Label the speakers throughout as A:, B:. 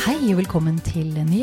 A: Hei og velkommen til en ny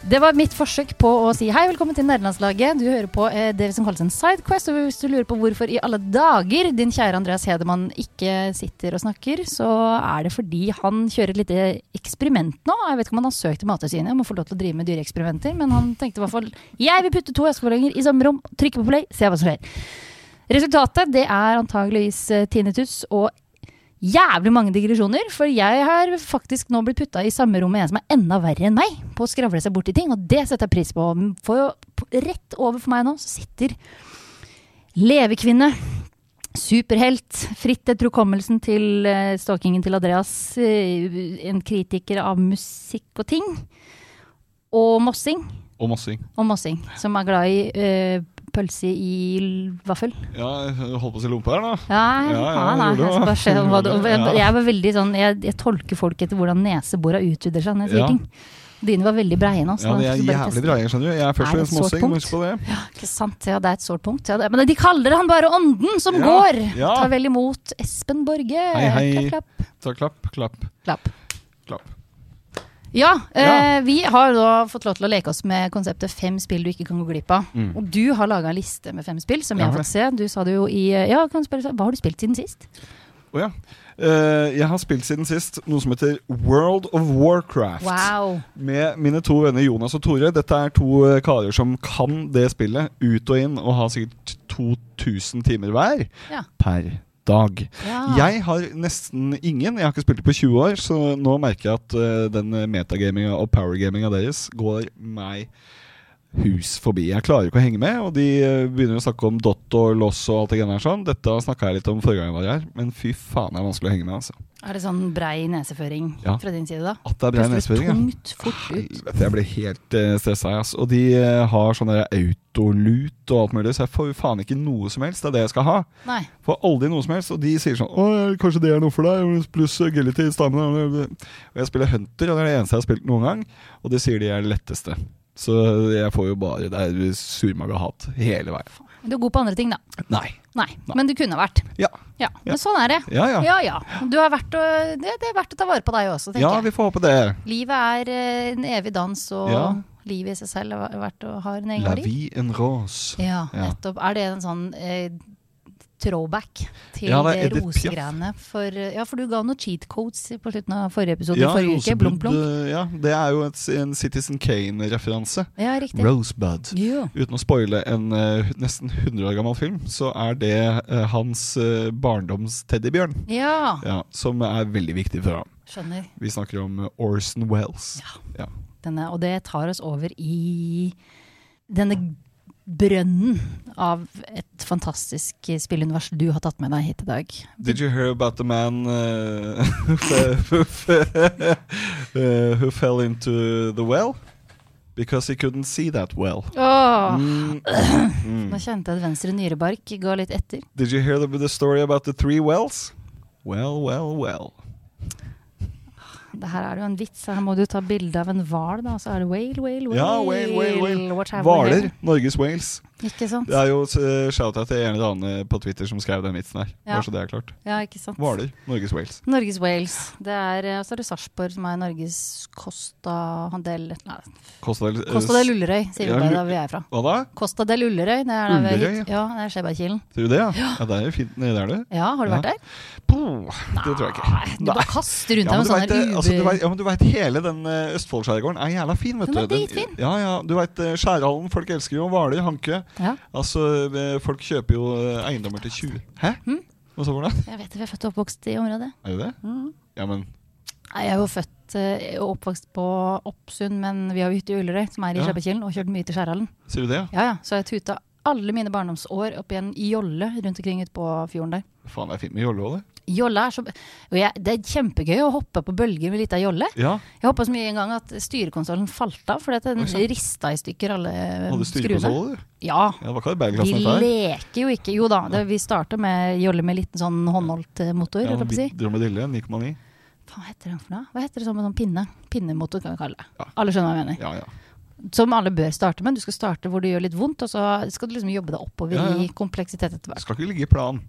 A: Det var mitt forsøk på å si hei, velkommen til Nærlandslaget. Du hører på eh, det som kalles en sidequest, og hvis du lurer på hvorfor i alle dager din kjære Andreas Hedemann ikke sitter og snakker, så er det fordi han kjører et lite eksperiment nå. Jeg vet ikke om han har søkt til Mattilsynet om å få lov til å drive med dyreeksperimenter, men han tenkte i hvert fall jeg vil putte to eskeballonger i samme rom, trykke på play, se hva som skjer. Resultatet det er antageligvis eh, tinnitus og jævlig mange digresjoner, for jeg har faktisk nå blitt putta i samme rom med en som er enda verre enn meg på å skravle seg bort i ting, og det setter jeg pris på. For jo, på- rett over for meg nå så sitter levekvinne, superhelt, fritt etter hukommelsen til eh, stalkingen til Andreas, eh, en kritiker av musikk og ting, og mossing,
B: Og mossing.
A: og mossing, som er glad i eh, pølse i l- vaffel.
B: Ja, jeg holdt på å si lompe her, da.
A: Ja,
B: Ja, ja,
A: faen, nei, jeg
B: gjorde det,
A: skal
B: da.
A: bare se eh, hva du
B: Gjorde det,
A: jeg,
B: ja.
A: jeg var veldig sånn jeg, jeg tolker folk etter hvordan neseborene utvider seg når jeg sier
B: Ja.
A: ting. Dine var veldig breie nå. så
B: Ja,
A: da
B: det er
A: skal du bare
B: jævlig
A: teste.
B: bra, jeg skjønner du. Jeg er først
A: Er
B: og
A: det et
B: fremst
A: sårt
B: mossing, må
A: punkt?
B: huske på det.
A: Ikke sant, ja, det er et sårt punkt. Ja, det, men de kaller han bare Ånden som
B: Ja,
A: går!
B: ja.
A: Ta vel imot Espen Borge.
B: Hei, hei.
A: Klapp, klapp,
B: Ta klapp, klapp,
A: klapp.
B: klapp.
A: Ja, eh,
B: Ja.
A: vi har da fått lov til å leke oss med konseptet fem spill du ikke kan gå glipp av.
B: Mm.
A: Og du har laga en liste med fem spill, som
B: Ja,
A: jeg har
B: for
A: fått se. Du sa det jo i eh, Ja, kan du spørre, hva har du spilt siden sist?
B: Å ja. Eh, jeg har spilt siden sist noe som heter World of Warcraft.
A: Wow.
B: Med mine to venner Jonas og Tore. Dette er to eh, karer som kan det spillet ut og inn, og har sikkert 2000 timer hver
A: Ja.
B: per dag.
A: Ja.
B: Jeg har nesten ingen. Jeg har ikke spilt det på 20 år, så nå merker jeg at eh, den metagaminga og powergaminga deres går meg hus forbi. Jeg klarer ikke å henge med, og de eh, begynner å snakke om dot og loss og alt det greiene her sånn. Dette snakka jeg litt om forrige gang jeg var her, men fy faen, det er vanskelig å henge med, altså.
A: Er det sånn brei neseføring
B: Ja.
A: fra din side, da?
B: At det er brei
A: Puster det
B: neseføring, ja.
A: tungt, fort ut.
B: Helvete, jeg ble helt uh, stressa. jeg, ass. Og de eh, har sånn der autolut og alt mulig, så jeg får jo faen ikke noe som helst. Det er det jeg skal ha.
A: Nei.
B: Får aldri noe som helst, og de sier sånn Å, ja, kanskje det er noe for deg, pluss agility, stamina Og jeg spiller Hunter, og det er det eneste jeg har spilt noen gang, og det sier de er det letteste. Så jeg får jo bare Det er surmaga hat hele veien.
A: Men Du er god på andre ting, da.
B: Nei.
A: Nei,
B: Nei.
A: men du kunne vært.
B: Ja.
A: Ja,
B: Ja.
A: Men sånn er det.
B: Ja ja.
A: Ja ja. Du er verdt å, det, det er verdt å ta vare på deg også, tenker
B: Ja,
A: jeg.
B: vi får håpe det.
A: Livet er eh, en evig dans, og
B: Ja.
A: livet i seg selv er verdt å ha en egen
B: La
A: verdi.
B: vie en rose.
A: Ja,
B: Ja.
A: nettopp. Er det en sånn eh, throwback til
B: Ja,
A: det,
B: det er Edith Piaf.
A: rosegreiene? For, eh, ja, for du ga noen cheat codes på slutten av forrige episode
B: Ja,
A: i forrige uke. Blunk,
B: Rosebud,
A: blunk.
B: eh, ja, det er jo et, en Citizen Kane-referanse.
A: Ja, riktig.
B: Rosebud.
A: Ja.
B: Uten å spoile en eh, nesten 100 år gammel film, så er det eh, hans eh, barndoms teddybjørn.
A: ja,
B: Ja, som er veldig viktig for ham.
A: skjønner.
B: Vi snakker om eh, Orson Wells.
A: denne, og det tar oss over i denne brønnen av et fantastisk spillunivers du har tatt med deg hit i dag.
B: Did you hear about the man eh, who, fe- eh, who fell into the well? Because he couldn't see that well.
A: Åh,
B: Mm,
A: Ah. nå
B: mm.
A: kjente jeg at venstre nyrebark ga litt etter.
B: Did you hear the, the story about the three wells? Well, well, well.
A: Det her er det jo en vits. Her må du ta bilde av en hval, da. og Så er det whale, whale, whale.
B: Ja, whale, whale, whale.
A: What have we
B: Hvaler.
A: here?
B: Norges Wales.
A: Ikke sant?
B: Det er jo eh, shout-out til en eller annen eh, på Twitter som skrev den vitsen her.
A: Ja.
B: Bare så det er klart.
A: Ja, ikke sant?
B: Hvaler. Norges Wales.
A: Norges Wales. Det er, eh, og så er det Sarpsborg, som er Norges Costa Handel et eller annet.
B: Costa del, eh,
A: Costa del Ullerøy, sier vi
B: Ja,
A: bare
B: Lu-
A: der vi er fra.
B: Hva da?
A: Costa del Ullerøy, det er der vi er
B: Ullerøy,
A: hit. Ja, det er Skjebergkilen.
B: Tror du det, ja? Ja, det er jo fint nede der, du.
A: Ja, har du
B: Ja.
A: vært der?
B: Puh, det tror jeg ikke.
A: Nei, du bare kaster rundt
B: Ja,
A: deg med
B: men du
A: sånne
B: vet,
A: der
B: eh, altså, du
A: uber-
B: vet, ja, men du vet, hele den eh, Østfoldskjærgården er jævla fin, vet
A: Den
B: du.
A: er dritfin.
B: ja, ja, du vet, eh, Skjærhallen, folk elsker jo Hvaler, Hanke.
A: Ja,
B: Altså, eh, folk kjøper jo eh, eiendommer til 20 Hæ?
A: Mm.
B: Hva så for det? Mm.
A: jeg vet det, vi er født og oppvokst i området.
B: Er det det? Ja, men
A: Nei, Jeg er jo født eh, og oppvokst på Oppsund, men vi har jo hytte i Ullerøy, som er i
B: Ja.
A: Skjebbekilen, og kjørt mye til Skjærhallen.
B: Sier du det?
A: Ja, ja. Så jeg tuta alle mine barndomsår opp i en jolle rundt omkring ute på fjorden der.
B: Faen, det er fint med jolle òg, det.
A: Jolle er så og jeg, Det er kjempegøy å hoppe på bølger med lita jolle.
B: Ja.
A: Jeg hoppa så mye en gang at styrekonsollen falt av fordi at
B: Oi,
A: den
B: sant.
A: rista i stykker alle
B: Hadde
A: skruene.
B: styrekonsoll, du.
A: Ja.
B: Ja, det var ikke det
A: Vi
B: bagklassen dette her?
A: leker jo ikke Jo da, det, vi starter med jolle med liten sånn håndholdt eh, motor,
B: Ja,
A: holdt jeg på å si.
B: Dromedille 9,9.
A: Faen, Hva heter den for noe? Hva heter det sånn med sånn pinne? Pinnemotor kan vi kalle det.
B: Ja.
A: Alle skjønner hva jeg mener.
B: Ja, ja.
A: Som alle bør starte med. Du skal starte hvor det gjør litt vondt, og så skal du liksom jobbe deg oppover
B: Ja, ja.
A: i kompleksitet etter
B: Det
A: hvert.
B: skal ikke ligge i plan.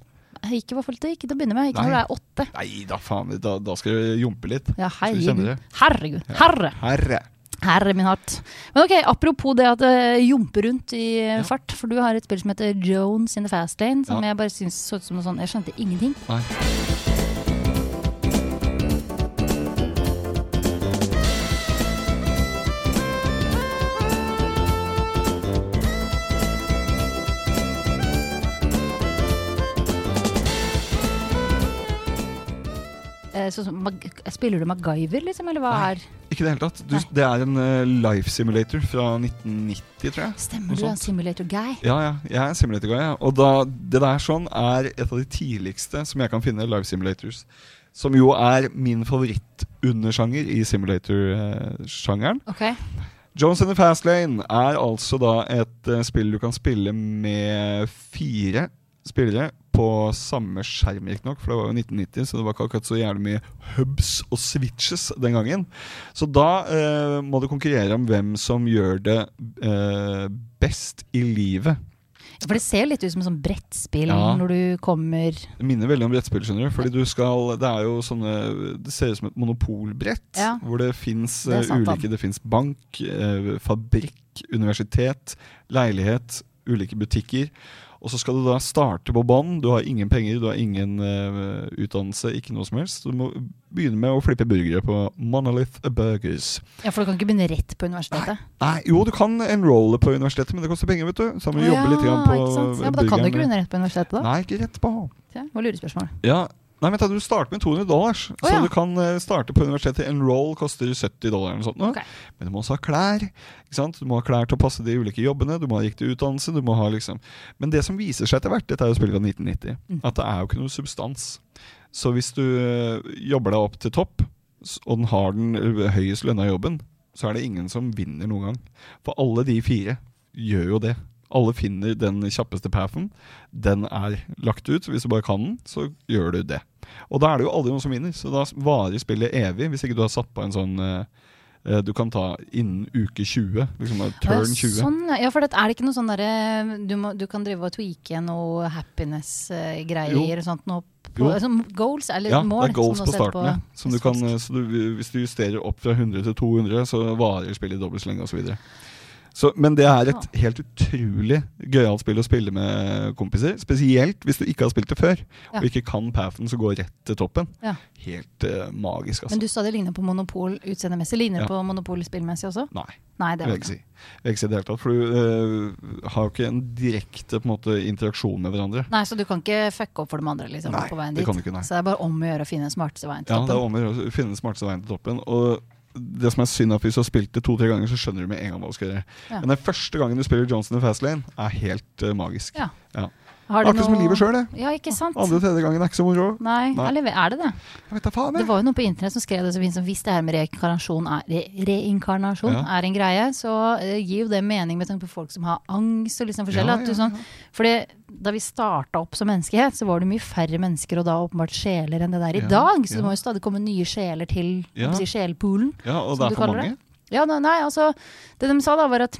A: Ikke, i hvert fall til- ikke til å begynne med, ikke
B: Nei.
A: når du er åtte.
B: Nei da, faen. Da, da skal jeg jumpe litt.
A: Ja,
B: Skal vi kjenne
A: herregud. Herregud.
B: det?
A: Herre.
B: Herre.
A: Herre min hatt. Men ok, apropos det at uh, jumpe rundt i eh,
B: Ja.
A: fart, for du har et spill som heter Jones in the Fast Lane, som
B: Ja.
A: jeg bare syns så ut som noe sånn Jeg skjønte ingenting.
B: Nei.
A: Eh, sånn som Mag- spiller du MacGyver, liksom, eller hva
B: Nei.
A: er
B: Ikke i det hele tatt. Du,
A: Nei.
B: det er en eh, life simulator fra 1990, tror jeg.
A: Stemmer
B: Noe
A: du, er en
B: sånt.
A: simulator guy?
B: Ja, ja. Jeg er simulator guy. Ja. Og da, det der sånn er et av de tidligste som jeg kan finne live simulators. Som jo er min favorittundersjanger i simulator-sjangeren.
A: Ok.
B: Jones and the Fast Lane er altså da et eh, spill du kan spille med fire spillere på samme skjerm, riktignok, for det var jo 1990, så det var ikke akkurat så jævlig mye hubs og switches den gangen. Så da eh, må du konkurrere om hvem som gjør det eh, best i livet.
A: For det ser jo litt ut som et sånt brettspill
B: Ja.
A: når du kommer
B: Det minner veldig om brettspill, skjønner du. Fordi du skal, det er jo sånne Det ser ut som et monopolbrett.
A: Ja.
B: Hvor det fins
A: Det er sant, da.
B: ulike Det fins bank, eh, fabrikk, universitet, leilighet, ulike butikker. Og så skal du da starte på bånn. Du har ingen penger, du har ingen eh, utdannelse, ikke noe som helst. Så Du må begynne med å flippe burgere på Monolith Burgers.
A: Ja, for du kan ikke begynne rett på universitetet.
B: Nei, jo, du kan enrolle på universitetet, men det koster penger, vet du. Så da må du
A: Å
B: jobbe litt grann på
A: ikke sant? Ja, men Da kan du ikke begynne rett på universitetet, da.
B: Nei, ikke rett på.
A: Ja, det var lurespørsmål.
B: Ja, Nei, men ta- Du starter med 200 dollars,
A: Å,
B: så
A: ja.
B: du kan eh, starte på universitetet. En roll koster 70 dollar. eller noe sånt nå.
A: Ok.
B: Men du må også ha klær. ikke sant? Du må ha klær til å passe de ulike jobbene, du må ha riktig utdannelse. du må ha liksom... Men det som viser seg etter hvert, dette er jo spillet fra 1990,
A: Mm.
B: at det er jo ikke noe substans. Så hvis du eh, jobber deg opp til topp, s- og den har den eh, høyest lønna jobben, så er det ingen som vinner noen gang. For alle de fire gjør jo det. Alle finner den kjappeste pathen. Den er lagt ut. Hvis du bare kan den, så gjør du det. Og da er det jo aldri noen som vinner, så da varer spillet evig. Hvis ikke du har satt på en sånn eh, eh, du kan ta innen uke 20. Liksom
A: Å,
B: eh,
A: ja,
B: turn 20.
A: Sånn, ja. ja, for det, er det ikke noe sånn derre du, må- du kan drive og tweake noe
B: Jo.
A: happiness-greier og sånt noe på
B: Jo.
A: altså, Goals, eller
B: Ja,
A: mål. liksom,
B: det er goals
A: som
B: på
A: du setter
B: starten. ja. Som du kan, eh, så du, hvis du justerer opp fra 100 til 200, så varer spillet dobbelt så lenge osv. Så, men det er et helt utrolig gøyalt spill å spille med kompiser. Spesielt hvis du ikke har spilt det før,
A: Ja.
B: og ikke kan pathen som går rett til toppen.
A: Ja.
B: Helt eh, magisk, altså.
A: Men du sa det ligner på Monopol utseendemessig. Ligner det
B: Ja.
A: på Monopol spillmessig også?
B: Nei,
A: Nei, det
B: det vil
A: er det
B: jeg
A: ikke.
B: ikke si. Jeg vil ikke si det i det hele tatt, For du eh, har jo ikke en direkte på en måte, interaksjon med hverandre.
A: Nei, så du kan ikke fucke opp for de andre liksom,
B: Nei,
A: på veien
B: det
A: dit?
B: kan du ikke, nei.
A: Så det er bare om å gjøre å finne den smarteste veien til
B: Ja, det er
A: toppen.
B: om å gjøre å finne den smarteste veien til toppen. Og det som er synd er at Hvis du har spilt det to-tre ganger, så skjønner du med en gang hva du skal gjøre.
A: Ja.
B: Men den første gangen du spiller Johnson i Fast Lane, er helt eh, magisk.
A: Ja.
B: Ja.
A: Har det
B: Akkurat som i
A: noe-
B: livet sjøl, det.
A: Ja, ikke sant?
B: Andre-tredje gangen er ikke så moro.
A: Nei,
B: Nei.
A: eller er det det?
B: Jeg vet da faen,
A: Det
B: jeg.
A: var jo noen på internett som skrev det så fint som hvis det her med reinkarnasjon er, re reinkarnasjon
B: Ja.
A: er en greie, så eh, gir jo det mening med tanke på folk som har angst og liksom forskjellig.
B: Ja,
A: at du
B: ja,
A: sånn, Fordi da vi starta opp som menneskehet, så var det mye færre mennesker og da åpenbart sjeler enn det der i
B: Ja,
A: dag. Så
B: ja.
A: det må jo stadig komme nye sjeler til
B: Ja.
A: ja. si, sjelpoolen.
B: Ja, og
A: som
B: det
A: du
B: er for
A: kaller
B: mange.
A: Ja, nei, nei, altså, det de sa da var at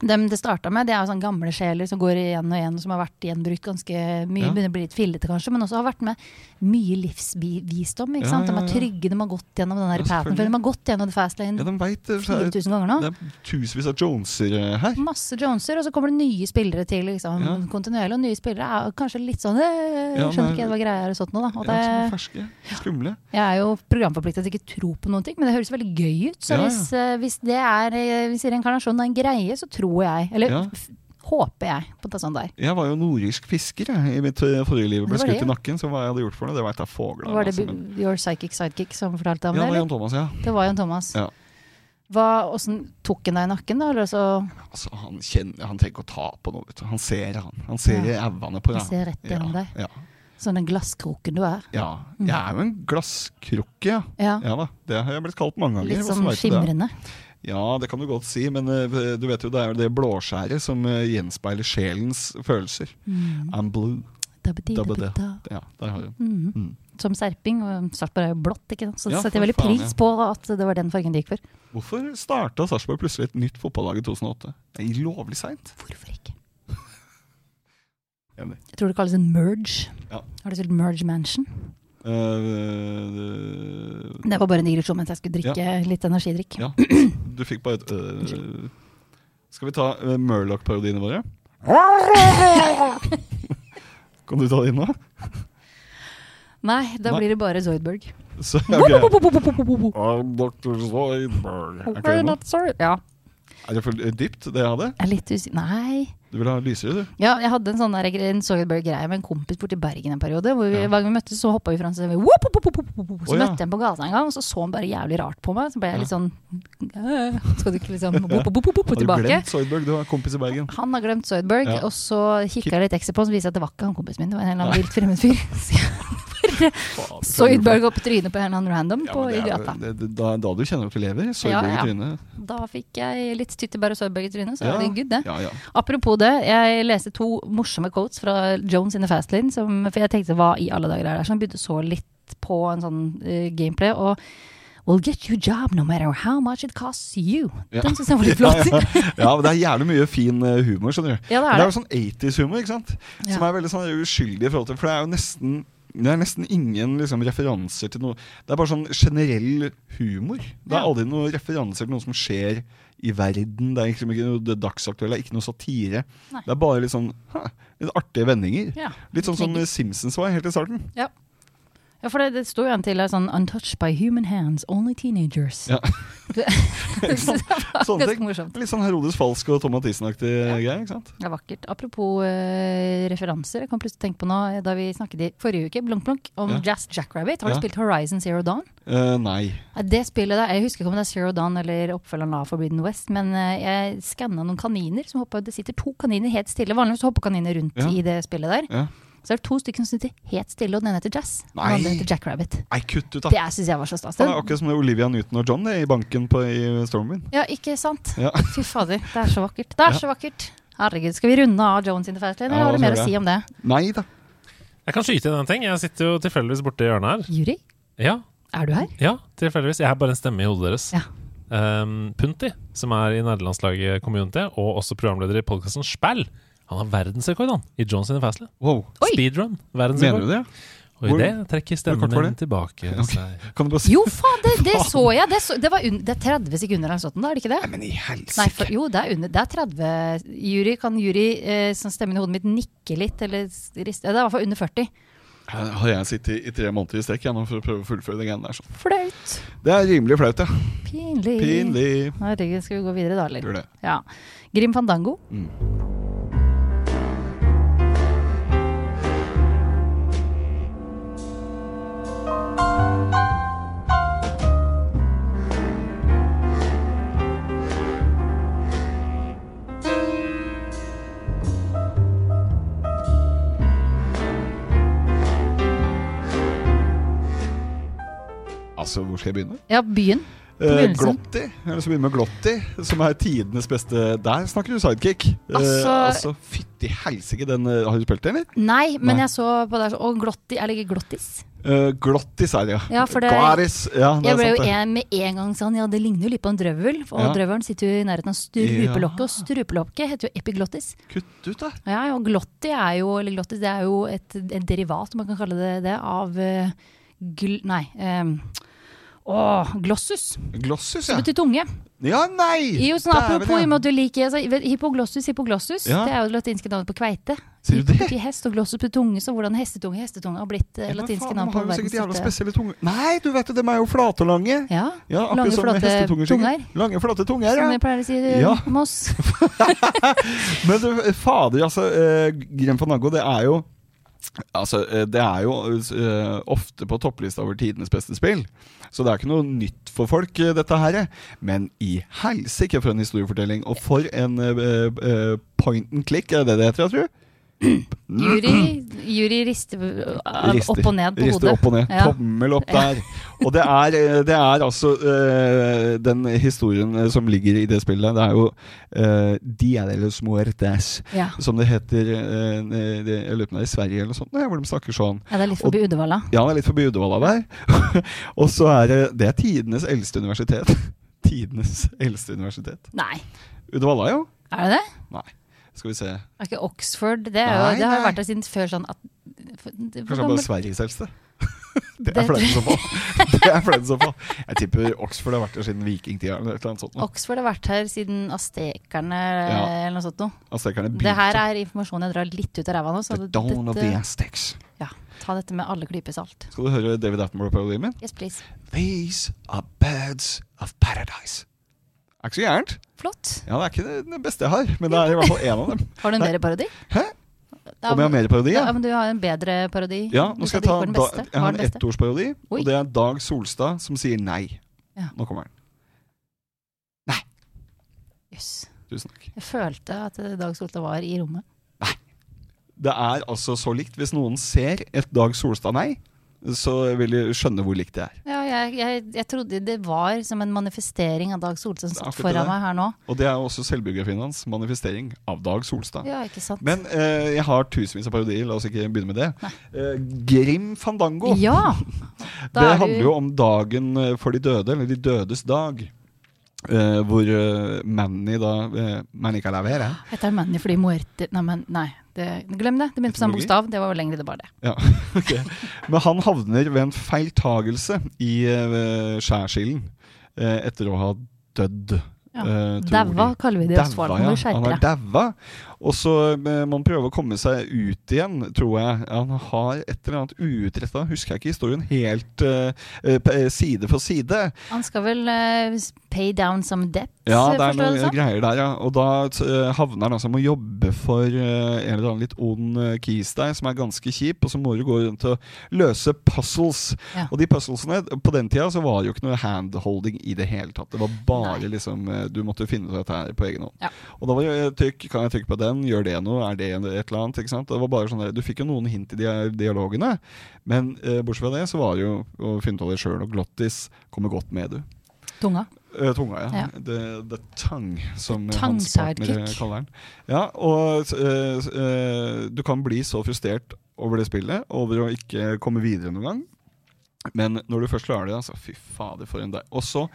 A: dem det starta med, det er jo sånn gamle sjeler som går igjen og igjen, og som har vært gjenbrukt ganske mye.
B: Ja.
A: Begynner å bli litt fillete, kanskje, men også har vært med mye livsvisdom. ikke
B: Ja,
A: sant?
B: ja,
A: De er
B: ja.
A: trygge, de har gått gjennom den der pathen
B: Ja,
A: før.
B: selvfølgelig.
A: De har gått gjennom The Fast
B: Ja,
A: Lane
B: de veit det. er-
A: 4000 ganger nå.
B: Det er tusenvis av joneser eh, her.
A: Masse Joneser, og så kommer det nye spillere til. liksom,
B: Ja.
A: kontinuerlig, Og nye spillere er kanskje litt sånn øh,
B: Ja,
A: Skjønte
B: men-
A: ikke helt hva greia er og sånt noe, da. Og
B: Ja, som er
A: det,
B: ferske. Skumle.
A: jeg er jo programforpliktet til ikke tro på noen ting, men det høres veldig gøy ut. Så
B: Ja, ja.
A: hvis, eh, hvis det er eh, hvis reinkarnasjon er en greie, så tror jeg. Eller
B: Ja.
A: f- Håper jeg på det sånn der.
B: Jeg var jo nordirsk fisker jeg, i mitt eh, forrige liv.
A: Det
B: Ble
A: var det,
B: skutt i
A: ja.
B: nakken, så hva jeg hadde gjort for noe, det veit jeg fogla.
A: Var det
B: altså, men-
A: bu- Your Psychic Sidekick som fortalte
B: Ja,
A: om
B: det
A: det?
B: var
A: Eller?
B: Jan Thomas, ja.
A: Det var Jon Thomas.
B: Ja.
A: Hva, hvordan tok han deg i nakken, da? Eller så
B: Altså, han, kjenner, han trenger ikke å ta på noe, vet du. Han ser, han. Han ser i auene på
A: jeg
B: deg.
A: ser rett gjennom
B: Ja,
A: deg?
B: ja,
A: Sånn den glasskroken du er.
B: ja. Jeg er jo en glasskrukke, ja.
A: Mhm. Ja.
B: Ja da, det har jeg blitt kalt mange ganger.
A: Litt
B: hvordan
A: sånn
B: vet du det?
A: skimrende.
B: Ja, det kan du godt si, men eh, du vet jo det er jo det blåskjæret som eh, gjenspeiler sjelens følelser.
A: Mm.
B: I'm blue.
A: Dabba-di,
B: Dabba-da.
A: dabba-da.
B: Ja, der har du den.
A: Mhm.
B: Mm.
A: Som serping, og Sarpsborg er jo blått, ikke sant? så
B: Ja,
A: setter jeg veldig
B: for faen,
A: pris
B: ja.
A: på at det var den fargen de gikk for.
B: Hvorfor starta Sarpsborg plutselig et nytt fotballag i 2008? Det er lovlig seint.
A: Hvorfor ikke?
B: Enig.
A: Jeg tror det kalles en merge.
B: Ja.
A: Har du spilt Merge Mansion?
B: Eh, eh,
A: Det var bare en digresjon mens jeg skulle drikke litt energidrikk.
B: ja, du fikk bare et eh, Skal vi ta eh, Murloch-parodiene våre? Kan du ta det inn nå?
A: Nei, da
B: Nei.
A: blir det bare Zoidberg.
B: Så,
A: Bo,
B: ok.
A: bo, bo, bo, bo, bo, bo, bo.
B: I'm Dr. Zoidberg. Er ikke
A: We're
B: det noe?
A: not sorry. Ja.
B: Er det for eh, dypt, det jeg hadde?
A: Jeg er litt usikker Nei.
B: Du vil ha lysere, du?
A: Ja, jeg hadde en sånn der, en Zoidberg-greie med en kompis borti Bergen en periode. Hvor vi,
B: Ja.
A: Hver gang vi møttes, så hoppa vi fra en sånn whoop, whoop, whoop, whoop, whoop, whoop. Så
B: Å, ja.
A: møtte jeg ham på gata en gang, og så så han bare jævlig rart på meg. Så ble jeg litt
B: Ja.
A: sånn «Øh, Skal du ikke liksom whoop, whoop, whoop, whoop,
B: Har du
A: tilbake?
B: glemt Zoidberg? Du har en kompis i Bergen.
A: Han har glemt Zoidberg,
B: Ja.
A: og så kikka jeg litt ekstra på han, så viste det seg at det var ikke han kompisen min, det var en eller annen vilt fremmed fyr. Så jeg
B: Faen,
A: Zoidberg opp trynet på en eller annen random
B: Ja,
A: på,
B: men
A: i
B: det er-
A: gata.
B: det- det- Da, da du kjenner at du lever. Zoidberg
A: Ja, ja.
B: i trynet.
A: Da fikk jeg litt tyttebær og Zoidberg i trynet, så
B: Ja.
A: er det good, det.
B: Ja, ja.
A: Apropos det, jeg leste to morsomme quotes fra Jones in the Fastlane. Som, for jeg tenkte hva i alle dager er det? Så han begynte så litt på en sånn eh, gameplay. Og We'll get you a job no matter how much it costs you.
B: Ja.
A: Den syns jeg var litt flott.
B: Ja, ja. ja, men det er jævlig mye fin eh, humor, skjønner du.
A: Ja, det
B: Men
A: er
B: det er
A: det.
B: jo sånn 80s-humor, ikke sant? Som
A: Ja.
B: er veldig sånn uskyldig i forhold til For det er jo nesten det er nesten ingen liksom, referanser til noe Det er bare sånn generell humor. Det er
A: Ja.
B: aldri noen referanser til noe som skjer i verden. Det er liksom ikke noe det dagsaktuelle, det er ikke noe satire.
A: Nei.
B: Det er bare litt sånn ha, litt artige vendinger.
A: Ja.
B: Litt sånn som
A: Knegger.
B: Simpsons var helt i starten.
A: ja, for det, det sto jo en til der sånn Untouched by human hands, only teenagers.
B: Ja.
A: det synes jeg var
B: Sånne
A: ganske
B: ting.
A: morsomt.
B: Litt sånn Herodes Falsk og Tom Mathisen-aktig greie. ikke sant?
A: Det er vakkert. Apropos eh, referanser, jeg kan plutselig tenke på nå eh, da vi snakket i forrige uke, blunk blunk, om
B: Ja.
A: Jazz Jackrabbit. Har du
B: Ja.
A: spilt Horizon Zero Dawn?
B: Eh, nei.
A: Ja, Det spillet der, Jeg husker ikke om det er Zero Dawn eller oppfølgeren av Forbidden West, men eh, jeg skanna noen kaniner som hoppa Det sitter to kaniner helt stille. Vanligvis hopper kaniner rundt
B: Ja.
A: i det spillet der.
B: Ja.
A: Så er det to stykker som sitter helt stille, og den ene heter Jazz. Og den
B: Nei.
A: andre heter Jack Rabbit.
B: Nei, kutt ut, da!
A: Det sånn. syns jeg var så stas.
B: Han er akkurat som Olivia Newton og John det, i banken på, i Stormwind.
A: Ja, ikke sant?
B: Ja.
A: Fy fader, det er så vakkert. Det er så vakkert. Herregud, skal vi runde av Jones in the Fastlane,
B: Ja,
A: eller har du
B: så
A: mer
B: bra.
A: å si om det?
B: Nei da.
C: Jeg kan skyte inn en ting. Jeg sitter jo tilfeldigvis borti hjørnet her.
A: Juri,
C: Ja,
A: er du her?
C: ja, tilfeldigvis. Jeg er bare en stemme i hodet deres.
A: Ja.
C: Um, Punti, som er i nederlandslaget Community, og også programleder i podkasten Spell, han har verdensrekord han, i John sine Fastley.
B: Wow.
A: Oi.
C: Speedrun.
B: Mener du
C: Verdensrekord.
B: det?
C: Og i
B: Hvor-
C: det trekker stemmen
B: hvor kort var
C: min tilbake
B: Ok.
C: seg.
B: Kan du bare si
A: Jo, fader, det så jeg! Det, så, det, var un det er 30 sekunder eller noe sånt, da, er det ikke det?
B: Nei, men i
A: Nei,
B: helsike!
A: for, jo, det er under. Det er 30 jury. Kan jury eh, som stemmen i hodet mitt nikke litt, eller s- riste? Ja, Det er i hvert fall under 40.
B: Her Har jeg sittet i tre måneder i strekk jeg, nå for å prøve å fullføre den greien der. sånn.
A: Flaut.
B: Det er rimelig flaut, ja.
A: Pinlig.
B: Pinlig.
A: Herregud, skal vi gå videre da, eller?
B: Gjør det.
A: Ja. Grim Fandango.
B: Mm. Altså, hvor skal jeg begynne?
A: Ja, byen. På
B: Eh,
A: begynnelsen.
B: Glotti, eller så begynner vi med Glotti, som er tidenes beste Der snakker du sidekick. Eh,
A: Altså-
B: altså Fytti helsike, den eh, har du spilt, eller?
A: Nei, men
B: Nei.
A: jeg så på der så- Og Glotti, eller ikke Glottis.
B: Eh, Glottis er det,
A: Ja, for det-
B: Glaris, ja, det
A: Jeg
B: er
A: ble jo
B: sant, det.
A: en, med en gang sånn, ja, det ligner jo litt på en drøvel. Og
B: Ja.
A: drøvelen sitter jo i nærheten av strupelokket, og strupelokket heter jo epiglottis.
B: Kutt ut, da.
A: Ja, og glotti er jo, eller glottis, det er jo et, et derivat, om man kan kalle det det, av eh, gl... Nei. Um, Åh, glossus.
B: Glossus,
A: Det
B: ja.
A: betyr tunge.
B: Ja, nei!
A: Jo, sånn,
B: Dæven,
A: apropos
B: ja.
A: i og med at du liker altså, vet- Hippoglossus, hippoglossus.
B: Ja.
A: Det er jo det latinske navnet på kveite.
B: Sier du det?
A: Hippo betyr hest og glossus betyr tunge, så hvordan hestetunge hestetunge har blitt eh,
B: Ja, men
A: latinske
B: faen,
A: navn
B: de
A: på
B: har jo
A: verdens
B: sikkert jævla
A: største-
B: spesielle tunger. Nei, du vet det, de er jo flate og lange.
A: Ja.
B: Ja,
A: Lange,
B: akkurat som
A: flate
B: hestetunger. sikkert.
A: tunger.
B: Lange, flate tunger.
A: Som
B: ja.
A: vi pleier å si
B: Ja.
A: eh, med oss.
B: Men du, fader, altså eh, Gren Fandango, det er jo Altså, eh, Det er jo eh, ofte på topplista over tidenes beste spill, så det er ikke noe nytt for folk, eh, dette her. Men i helsike for en historiefortelling, og for en eh, eh, point and click, er det det heter, jeg tror?
A: Jury, jury rister eh,
B: Rister.
A: opp og ned på
B: Rister
A: hodet.
B: opp og ned.
A: Ja.
B: Tommel opp der. Og det er, eh, det er altså eh, den historien eh, som ligger i det spillet. Det er jo eh, Dia de los muertes,
A: Ja.
B: som det heter eh, eh, det, Jeg lurer på om det er i Sverige eller noe sånt, nei, hvor de snakker sånn.
A: ja, det er litt forbi Uddevalla.
B: Ja, det er litt forbi Uddevalla der. og så er det Det er tidenes eldste universitet. tidenes eldste universitet.
A: Nei,
B: Uddevalla, jo.
A: er det det?
B: Skal vi se.
A: Er ikke Oxford Det, er jo,
B: Nei,
A: det har jo
B: nei.
A: vært der siden før sånn at for- det- hvor
B: Kanskje det er
A: gammel-
B: bare Sveriges eldste. Det
A: Det-
B: er flaut i så fall. Det er flaut i så fall. Jeg tipper Oxford har vært der siden vikingtida eller et eller annet sånt. nå.
A: Oxford har vært her siden aztekerne
B: Ja.
A: eller noe sånt noe.
B: Aztekerne
A: Det her
B: begynte.
A: er sånn informasjon jeg drar litt ut av ræva nå, så
B: The dawn of the Aztecs.
A: ja, ta dette med alle klyper salt.
B: Skal du høre David Attenborough-parodien min?
A: Yes, please.
B: These are birds of paradise. Er ikke så gærent.
A: Flott.
B: Ja, Det er ikke det- det beste jeg har, men det er i hvert fall én av dem.
A: Har du en
B: Nei.
A: bedre parodi?
B: Hæ?
A: Ja,
B: Om jeg har mer parodi?
A: ja,
B: Ja.
A: men du har en bedre parodi.
B: Ja,
A: Du
B: nå skal jeg
A: sa
B: ta
A: du ikke var den
B: da,
A: beste.
B: Jeg
A: Hva
B: har
A: er
B: en
A: den beste?
B: ettårsparodi,
A: Oi.
B: og det er Dag Solstad som sier nei.
A: Ja.
B: Nå kommer den.
A: Jøss.
B: Tusen takk.
A: Jeg følte at eh, Dag Solstad var i rommet.
B: Det er altså så likt. Hvis noen ser et Dag Solstad nei, så vil de skjønne hvor likt det er.
A: Ja, jeg, jeg, jeg trodde det var som en manifestering av Dag Solstad som
B: Det er
A: satt
B: akkurat det.
A: foran meg her nå.
B: Og det er jo også selvbiografien hans, 'Manifestering av Dag Solstad'.
A: Ja, ikke sant?
B: Men eh, jeg har tusenvis av parodier, la oss ikke begynne med det. Eh, Grim Fandango.
A: ja! Da
B: det
A: er
B: handler
A: du-
B: jo om dagen eh, for de døde, eller de dødes dag. Eh, hvor eh, Manny da eh, Manny Calavera
A: Heter han Manny fordi Muerte Nei, men, nei det, glem det. Det begynte på samme
B: Etymologi?
A: bokstav. Det var vel lengre, det bare det.
B: Ja, ok. Men han havner ved en feiltagelse i eh, skjærsilden eh, etter å ha dødd.
A: Ja.
B: eh, tror de.
A: Daua kaller vi det i Østfold. Nå må du
B: Daua, ja. Han
A: skjerpe
B: har
A: deg.
B: daua. Og så eh, må han prøve å komme seg ut igjen, tror jeg. Han har et eller annet uutretta, husker jeg ikke historien helt eh, eh, p- eh, side for side.
A: Han skal vel eh, pay down some debts,
B: Ja, det er
A: forstår jeg det
B: noen
A: sånn?
B: greier der, ja. Og da eh, havner han altså med å jobbe for eh, en eller annen litt ond eh, kis der, som er ganske kjip, og så må du gå rundt og løse puzzles.
A: Ja.
B: Og de puzzlesene, på den tida så var det jo ikke noe handholding i det hele tatt. Det var bare
A: Nei.
B: liksom eh, Du måtte finne ut dette her på egen hånd.
A: Ja.
B: Og da var det eh, trykk, kan jeg trykke på den, gjør det noe, er det en- et eller annet? Ikke sant? Det var bare sånn der, Du fikk jo noen hint i de her dialogene, men eh, bortsett fra det så var det jo å finne ut av det sjøl, og Glottis kommer godt med, du.
A: sånn? Tunga.
B: Eh, tunga, ja.
A: Ja.
B: The, the tongue, som
A: The tongue
B: hans partner
A: sidekick.
B: kaller den. Ja, og eh, eh, du kan bli så frustrert over det spillet, over å ikke komme videre noen gang. Men når du først klarer det, altså fy fader, for en dag. Og så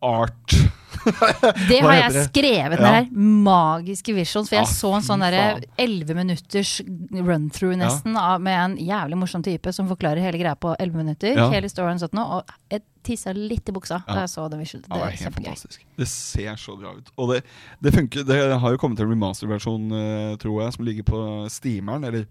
B: art.
A: Det
B: Hva
A: har
B: heter
A: jeg
B: det?
A: skrevet ned
B: Ja.
A: her. Magiske visions. For
B: Ja,
A: jeg så en sånn
B: fy
A: derre
B: faen.
A: elleve minutters run-through, nesten, av, med en jævlig morsom type som forklarer hele greia på elleve minutter.
B: Ja.
A: Hele storyen sånn nå. Og jeg tissa litt i buksa
B: Ja.
A: da jeg så den visual.
B: Ja,
A: Det
B: det er
A: var
B: helt
A: kjempegøy.
B: fantastisk. Det ser så bra ut. Og det, det funker. Det har jo kommet en remasterversjon, eh, tror jeg, som ligger på Steameren, eller
A: du-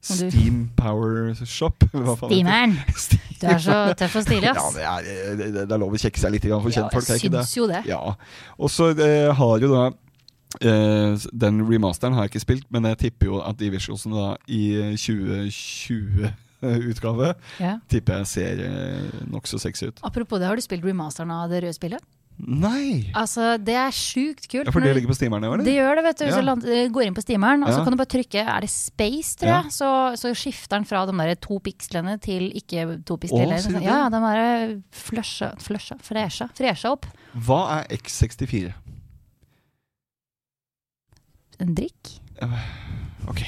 B: Steam Power Shop. eller hva faen det heter.
A: Steameren!
B: Steam.
A: Du er så tøff og stilig, ass.
B: Ja, det er, det, det- det er lov å kjekke seg litt grann for
A: Ja,
B: kjentfolk, er
A: jeg
B: ikke det?
A: syns jo det.
B: Ja. Og så eh, har jo da eh, Den remasteren har jeg ikke spilt, men jeg tipper jo at de visualsene da i eh, 2020-utgave
A: Ja.
B: Tipper jeg ser eh, nokså sexy ut.
A: Apropos det, har du spilt remasteren av det røde spillet?
B: Nei!
A: Altså, det er sjukt kult.
B: Ja, for det
A: Når-
B: ligger på steameren, eller?
A: Det gjør det, vet du. Hvis
B: Ja.
A: du land- eh, går inn på steameren, og så
B: Ja.
A: kan du bare trykke Er det space, tror
B: Ja.
A: jeg? Så, så skifter den fra de der to pikslene til ikke to
B: Å,
A: pikslene.
B: sier du det?
A: ja, ja, den bare flusha, flusha, fresha, fresha opp.
B: Hva er X64? Eh,
A: En drikk.
B: Ok.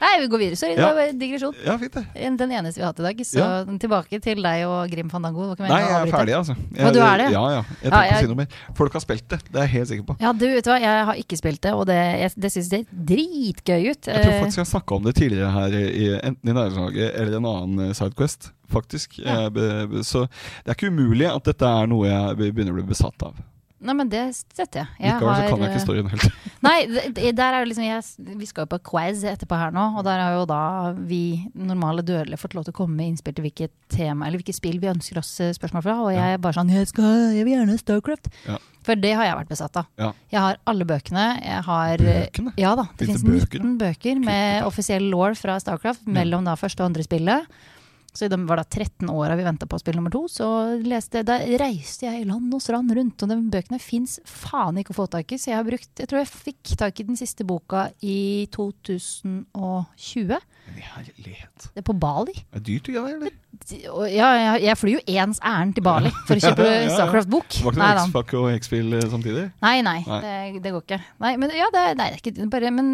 A: Nei, vi går videre. Sorry, det
B: Ja.
A: var bare en digresjon.
B: Ja, fint det.
A: Den eneste vi har hatt i dag. Så tilbake til deg og Grim Fandango. Det var ikke meningen
B: Nei,
A: å
B: jeg er
A: avbryte.
B: ferdig, altså.
A: Å, du er det?
B: Ja, ja.
A: Ja,
B: Jeg tenker å
A: jeg-
B: si noe mer. Folk har spilt det, det er jeg helt sikker på.
A: Ja, du vet du hva, jeg har ikke spilt det, og det, jeg, det syns det er dritgøy ut.
B: Jeg tror
A: Eh,
B: faktisk jeg snakka om det tidligere her, i, enten i Nærlandslaget eller en annen eh, Sidequest. Faktisk.
A: Ja.
B: Eh, be- be- Så det er ikke umulig at dette er noe jeg be- begynner å bli besatt av.
A: Eh, Nei, men det støtter jeg. jeg
B: Likevel så kan jeg
A: har,
B: ikke storyen helt.
A: eh, Nei, det- det- der er det liksom jeg, Vi skal jo på quiz etterpå her nå, og der har jo da vi normale dødelige fått lov til å komme med innspill til hvilket tema eller hvilket spill vi ønsker oss eh, spørsmål fra, og jeg er bare sånn Jeg, skal, jeg vil gjerne ha Starcraft.
B: Ja.
A: For det har jeg vært besatt av.
B: Ja.
A: Jeg har alle bøkene. Jeg har eh,
B: Bøkene?
A: Ja da. Det
B: Finnes
A: finnes
B: det bøker, da?
A: 19 bøker med offisiell law fra Starcraft mellom da første og andre spillet. Så i de var da 13 åra vi venta på spill nummer to, så leste, da reiste jeg land og strand rundt. Og de bøkene fins faen ikke å få tak i, så jeg har brukt Jeg tror jeg fikk tak i den siste boka i 2020.
B: Men i herlighet.
A: Det er på Bali.
B: Er det dyrt, det greiene, eller?
A: Og ja, jeg, jeg flyr jo ens ærend til Bali for å kjøpe
B: Ja, ja, ja.
A: Starcraft-bok.
B: Var ikke
A: Nei
B: det
A: da.
B: X-Fac og X-Spill eh, samtidig?
A: Nei, nei,
B: Nei.
A: Det, det går ikke. Nei, men ja, det, er- nei, det er ikke bare Men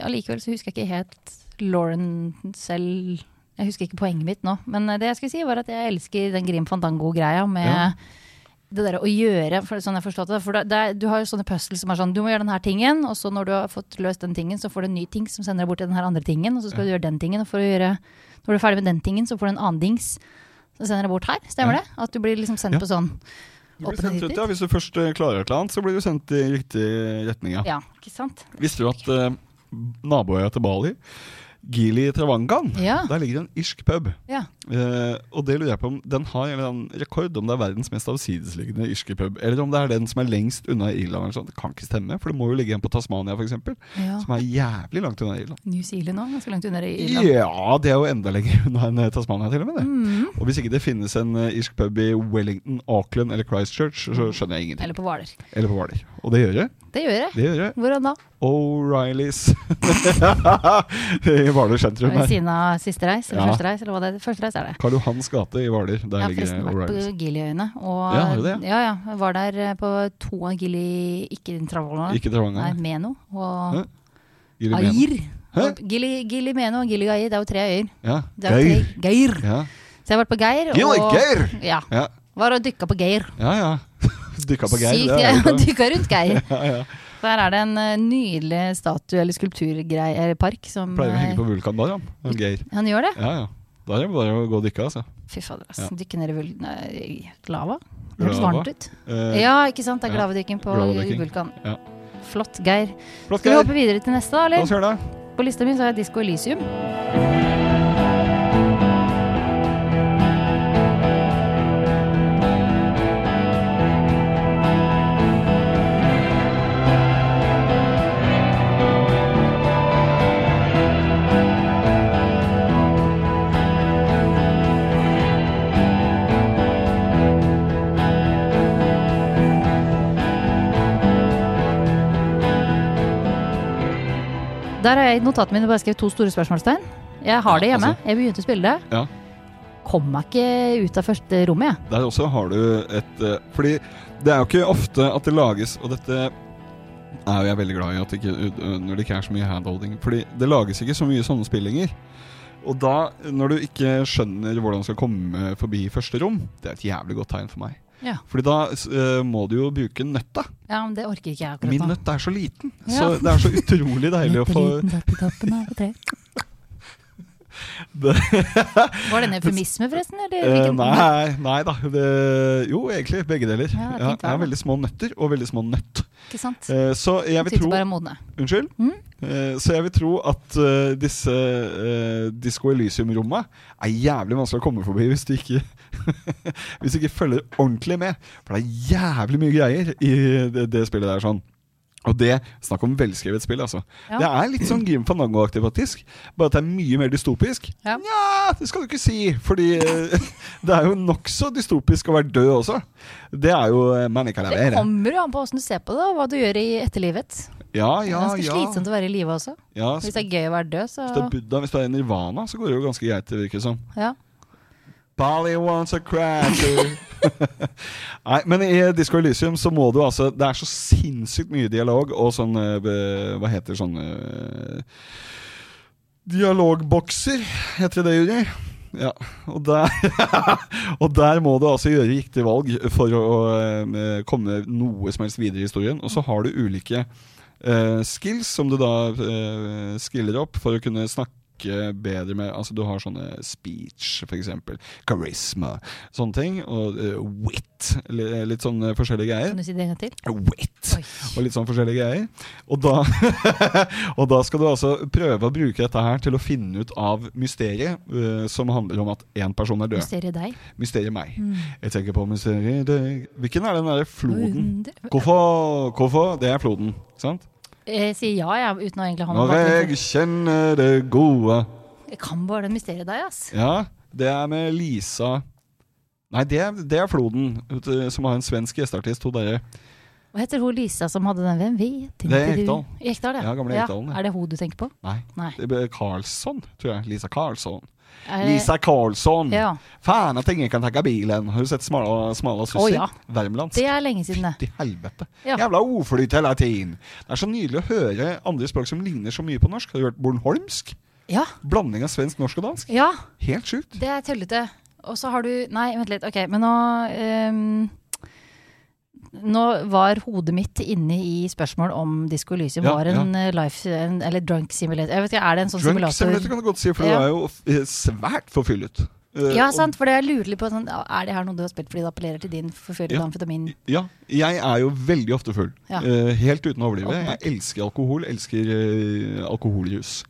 A: allikevel så husker jeg ikke helt Lauren selv Jeg husker ikke poenget mitt nå, men eh, det jeg skulle si, var at jeg elsker den Grim Fandango-greia med
B: Ja.
A: det derre å gjøre, for, sånn jeg forstått det. For det, det, er- du har jo sånne puzzles som er sånn Du må gjøre den her tingen, og så når du har fått løst den tingen, så får du en ny ting som sender deg bort til den her andre tingen, og så skal du gjøre den tingen, og for å gjøre Når du er ferdig med den tingen, så får du en annen dings som sender deg bort her. Stemmer
B: Ja.
A: det? At du blir liksom sendt
B: Ja.
A: på sånn
B: Du blir
A: Åpne
B: sendt ut,
A: dit.
B: ja. Hvis du først eh, klarer et eller annet, så blir du sendt i riktig eh, retning. Ja.
A: Ja, ikke sant?
B: Visste du at eh, naboøya til Bali, Gili Travangan,
A: Ja.
B: der ligger det en irsk pub.
A: Ja.
B: Eh, og det lurer jeg på om den har en eller annen rekord, om det er verdens mest avsidesliggende irske pub. Eller om det er den som er lengst unna Irland. Eller sånn. Det kan ikke stemme, for det må jo ligge en på Tasmania f.eks. eksempel
A: ja.
B: Som er jævlig langt unna Irland.
A: New Zealand òg, ganske langt under i Irland.
B: Ja, det er jo enda lenger unna enn eh, Tasmania, til og med. det
A: Mm.
B: Og hvis ikke det finnes en eh, irsk pub i Wellington, Auckland eller Christchurch, så skjønner jeg
A: Mhm.
B: ingenting.
A: Eller på Hvaler.
B: Eller på Hvaler. Og det gjør det.
A: Det gjør jeg.
B: Det gjør det.
A: Hvordan da?
B: O'Reillys i Hvaler sentrum
A: Ved
B: her.
A: siden av siste reis, eller
B: Ja.
A: første reis, eller hva det er. Første reis er det.
B: Karl Johans gate i Hvaler. Der
A: Jeg har
B: ligger
A: forresten vært
B: O'Reillys.
A: på Giliøyene. Og,
B: Ja, har du det?
A: Ja, ja. Jeg var der eh, på to av Gili Ikke Travolna,
B: Ikke
A: nei,
B: Travanger.
A: Meno
B: Hæ?
A: og
B: Gili Meno.
A: Air.
B: Hæ?
A: Og Gili, Gili Meno og Gili Gair, det er jo tre øyer.
B: Ja.
A: Det er jo tre- Geir.
B: Ja.
A: Så jeg har vært på Geir.
B: Gilly
A: og,
B: Geir!
A: Ja.
B: Ja,
A: Var og dykka på Geir.
B: ja. ja. Dykka på Geir.
A: Sykt,
B: det er
A: jeg
B: jo-
A: dykka rundt Geir.
B: ja, ja.
A: Der er det en eh, nydelig statue eller skulpturpark som
B: Pleier å henge
A: eh,
B: på Vulkan der, han. Han Geir.
A: Han gjør det?
B: Ja, ja. Der er det bare å gå og dykke, altså.
A: Fy fader, ass.
B: Ja.
A: Dykke ned i vul nei, lava? Det høres
B: Lava.
A: varmt ut.
B: Eh,
A: Ja, ikke sant? Det er
B: ja.
A: glavedykking på
B: Glavedykking.
A: vulkan.
B: Ja.
A: Flott, Geir.
B: Flott,
A: Skal vi
B: Geir.
A: hoppe videre til neste, da?
B: La oss
A: eller?
B: gjøre det.
A: På lista mi så har jeg Disko Elysium. Der har jeg i notatene mine bare skrevet to store spørsmålstegn. Jeg har det hjemme. Jeg begynte å spille det.
B: altså. Ja.
A: Kom meg ikke ut av første rommet, jeg.
B: Der også har du et eh, Fordi det er jo ikke ofte at det lages Og dette er jo jeg veldig glad i at det ikke, eh, når det ikke er så mye handholding. Fordi det lages ikke så mye sånne spillinger. Og da, når du ikke skjønner hvordan du skal komme forbi første rom, det er et jævlig godt tegn for meg.
A: Ja.
B: Fordi da eh, må du jo bruke nøtta.
A: Ja, men det orker ikke jeg akkurat
B: Min
A: nå.
B: nøtt er så liten, så
A: Ja.
B: det er så utrolig deilig å få det,
A: Var det en eufemisme, forresten? Eller
B: eh,
A: hvilken?
B: Nei, nei da. Det, jo, egentlig begge deler.
A: Ja, det er fint,
B: jeg har
A: hva?
B: veldig små nøtter og veldig små nøtt.
A: Ikke sant?
B: Eh, så jeg vil
A: Tygde
B: tro
A: bare modne.
B: Unnskyld?
A: Mm.
B: Eh, så jeg vil tro at eh, disse uh, Disko Elysium-romma er jævlig vanskelig å komme forbi hvis du ikke Hvis du ikke følger ordentlig med. For det er jævlig mye greier i det, det spillet der. sånn og det, Snakk om velskrevet spill, altså.
A: Ja.
B: Det er litt sånn Grim Fandango-aktig, faktisk. Bare at det er mye mer dystopisk.
A: Ja.
B: Nja, det skal du ikke si! Fordi eh, det er jo nokså dystopisk å være død også. Det er jo eh,
A: Det
B: Manicalavere.
A: kommer jo an på åssen du ser på det, og hva du gjør i etterlivet.
B: Ja,
A: Det er
B: ja,
A: ganske
B: ja.
A: slitsomt å være i live også.
B: ja
A: Hvis det er gøy å være død, så
B: Hvis det er Buddha, hvis det er nirvana, så går det jo ganske greit, det virker som.
A: ja.
B: Bali wants a cracker. Nei, men i Disco Elysium så må du altså Det er så sinnssykt mye dialog og sånn eh, be- Hva heter sånn eh, Dialogbokser heter det, Juri. Ja, og der, og der må du altså gjøre riktig valg for å eh, komme noe som helst videre i historien. Og så har du ulike eh, skills som du da eh, skiller opp for å kunne snakke bedre med Altså Du har sånne speech, f.eks. Charisma, sånne ting. Og eh, wit. li- Litt sånne forskjellige
A: Kan
B: greier.
A: du si det en gang til?
B: Wit
A: Oi.
B: og litt sånn forskjellige greier. Og da, og da skal du altså prøve å bruke dette her til å finne ut av mysteriet eh, som handler om at én person er død.
A: Mysteriet deg.
B: Mysteriet meg.
A: Mm.
B: Jeg tenker på mysteriet deg. Hvilken er den derre floden?
A: Under-
B: Hvorfor? Hvorfor? Det er floden, ikke sant?
A: Jeg sier Eh, ja, jeg, uten å egentlig ha noe
B: Når jeg
A: bakgrunn.
B: kjenner det gode
A: Jeg kan bare den mysteriet deg, ass.
B: Ja, det er med Lisa Nei, det, er- det er Floden, vet du, som har en svensk gjesteartist. Hun derre
A: Hva heter hun Lisa som hadde den? Hvem vet?
B: Det
A: ikke
B: er
A: du?
B: Ekdal.
A: Ekdal, ja.
B: Ja, gamle Ekdalen, ja.
A: Er det hun du tenker på?
B: Nei,
A: Nei.
B: det er Karlsson, tror jeg. Lisa Karlsson.
A: Er det-
B: Lisa Karlsson!
A: Eh. Ja.
B: Faen at ingen kan tenke bilen. Har du sett Smala, smala Sussi?
A: Å, ja.
B: Värmlands.
A: Det er lenge siden, det.
B: Fytti helvete.
A: Ja.
B: Jævla ordflyt hele tiden. Det er så nydelig å høre andre språk som ligner så mye på norsk. Har du hørt bornholmsk?
A: Ja.
B: Blanding av svensk, norsk og dansk.
A: ja.
B: Helt sjukt.
A: Det er tøllete. Og så har du Nei, vent litt. Ok, men nå ehm, Nå var hodet mitt inne i spørsmål om Disko Elysium
B: Ja,
A: var en eh, life en, Eller drunk simulator. Jeg vet ikke, Er det en sånn
B: Drunk simulator
A: simulator?
B: kan du godt si, for
A: Ja.
B: du er jo eh, svært forfyllet. Eh,
A: Ja, altså,
B: og-
A: sant. For det jeg lurer litt på sånn, Er det her noe du har spilt fordi det appellerer til din forfølgede
B: Ja.
A: amfetamin?
B: Ja, jeg er jo veldig ofte full.
A: Ja.
B: Eh, helt uten å overdrive.
A: Åpenbart.
B: Jeg elsker alkohol, elsker eh, alkoholrus.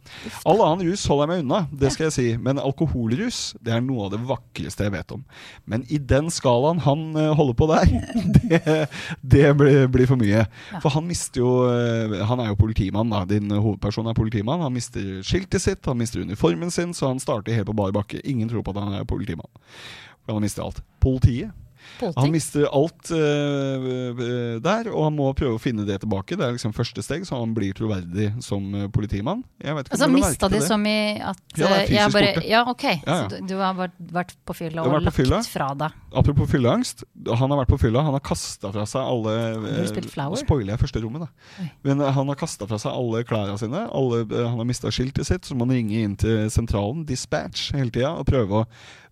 B: All annen rus holder jeg meg unna, det skal jeg si. Men alkoholrus det er noe av det vakreste jeg vet om. Men i den skalaen han eh, holder på der, det, det blir, blir for mye. For han mister jo eh, Han er jo politimann, da. Din hovedperson er politimann. Han mister skiltet sitt, han mister uniformen sin, så han starter helt på bar bakke. Ingen tror på at han er politimann. For han mister alt. Politiet. Han
A: Polting?
B: mister alt eh, eh, der, og han må prøve å finne det tilbake. Det er liksom første steg, så han blir troverdig som eh, politimann. Jeg vet ikke
A: Altså
B: om du la
A: mista
B: merke til
A: de som i at
B: Ja, det er
A: eh, jeg
B: fysisk
A: bare,
B: borte.
A: Ja, ok.
B: ja.
A: Så du, du har vært, vært på fylla
B: Du
A: og
B: har vært på
A: lagt
B: fylla.
A: fra deg.
B: Apropos fylleangst. Han har vært på fylla. Han har kasta fra seg alle
A: Har du spilt Flower?
B: Nå spoiler jeg første rommet, da.
A: Oi.
B: Men eh, han har kasta fra seg alle klærne sine. Alle, eh, han har mista skiltet sitt, så må han ringe inn til sentralen, dispatch, hele tida og prøve å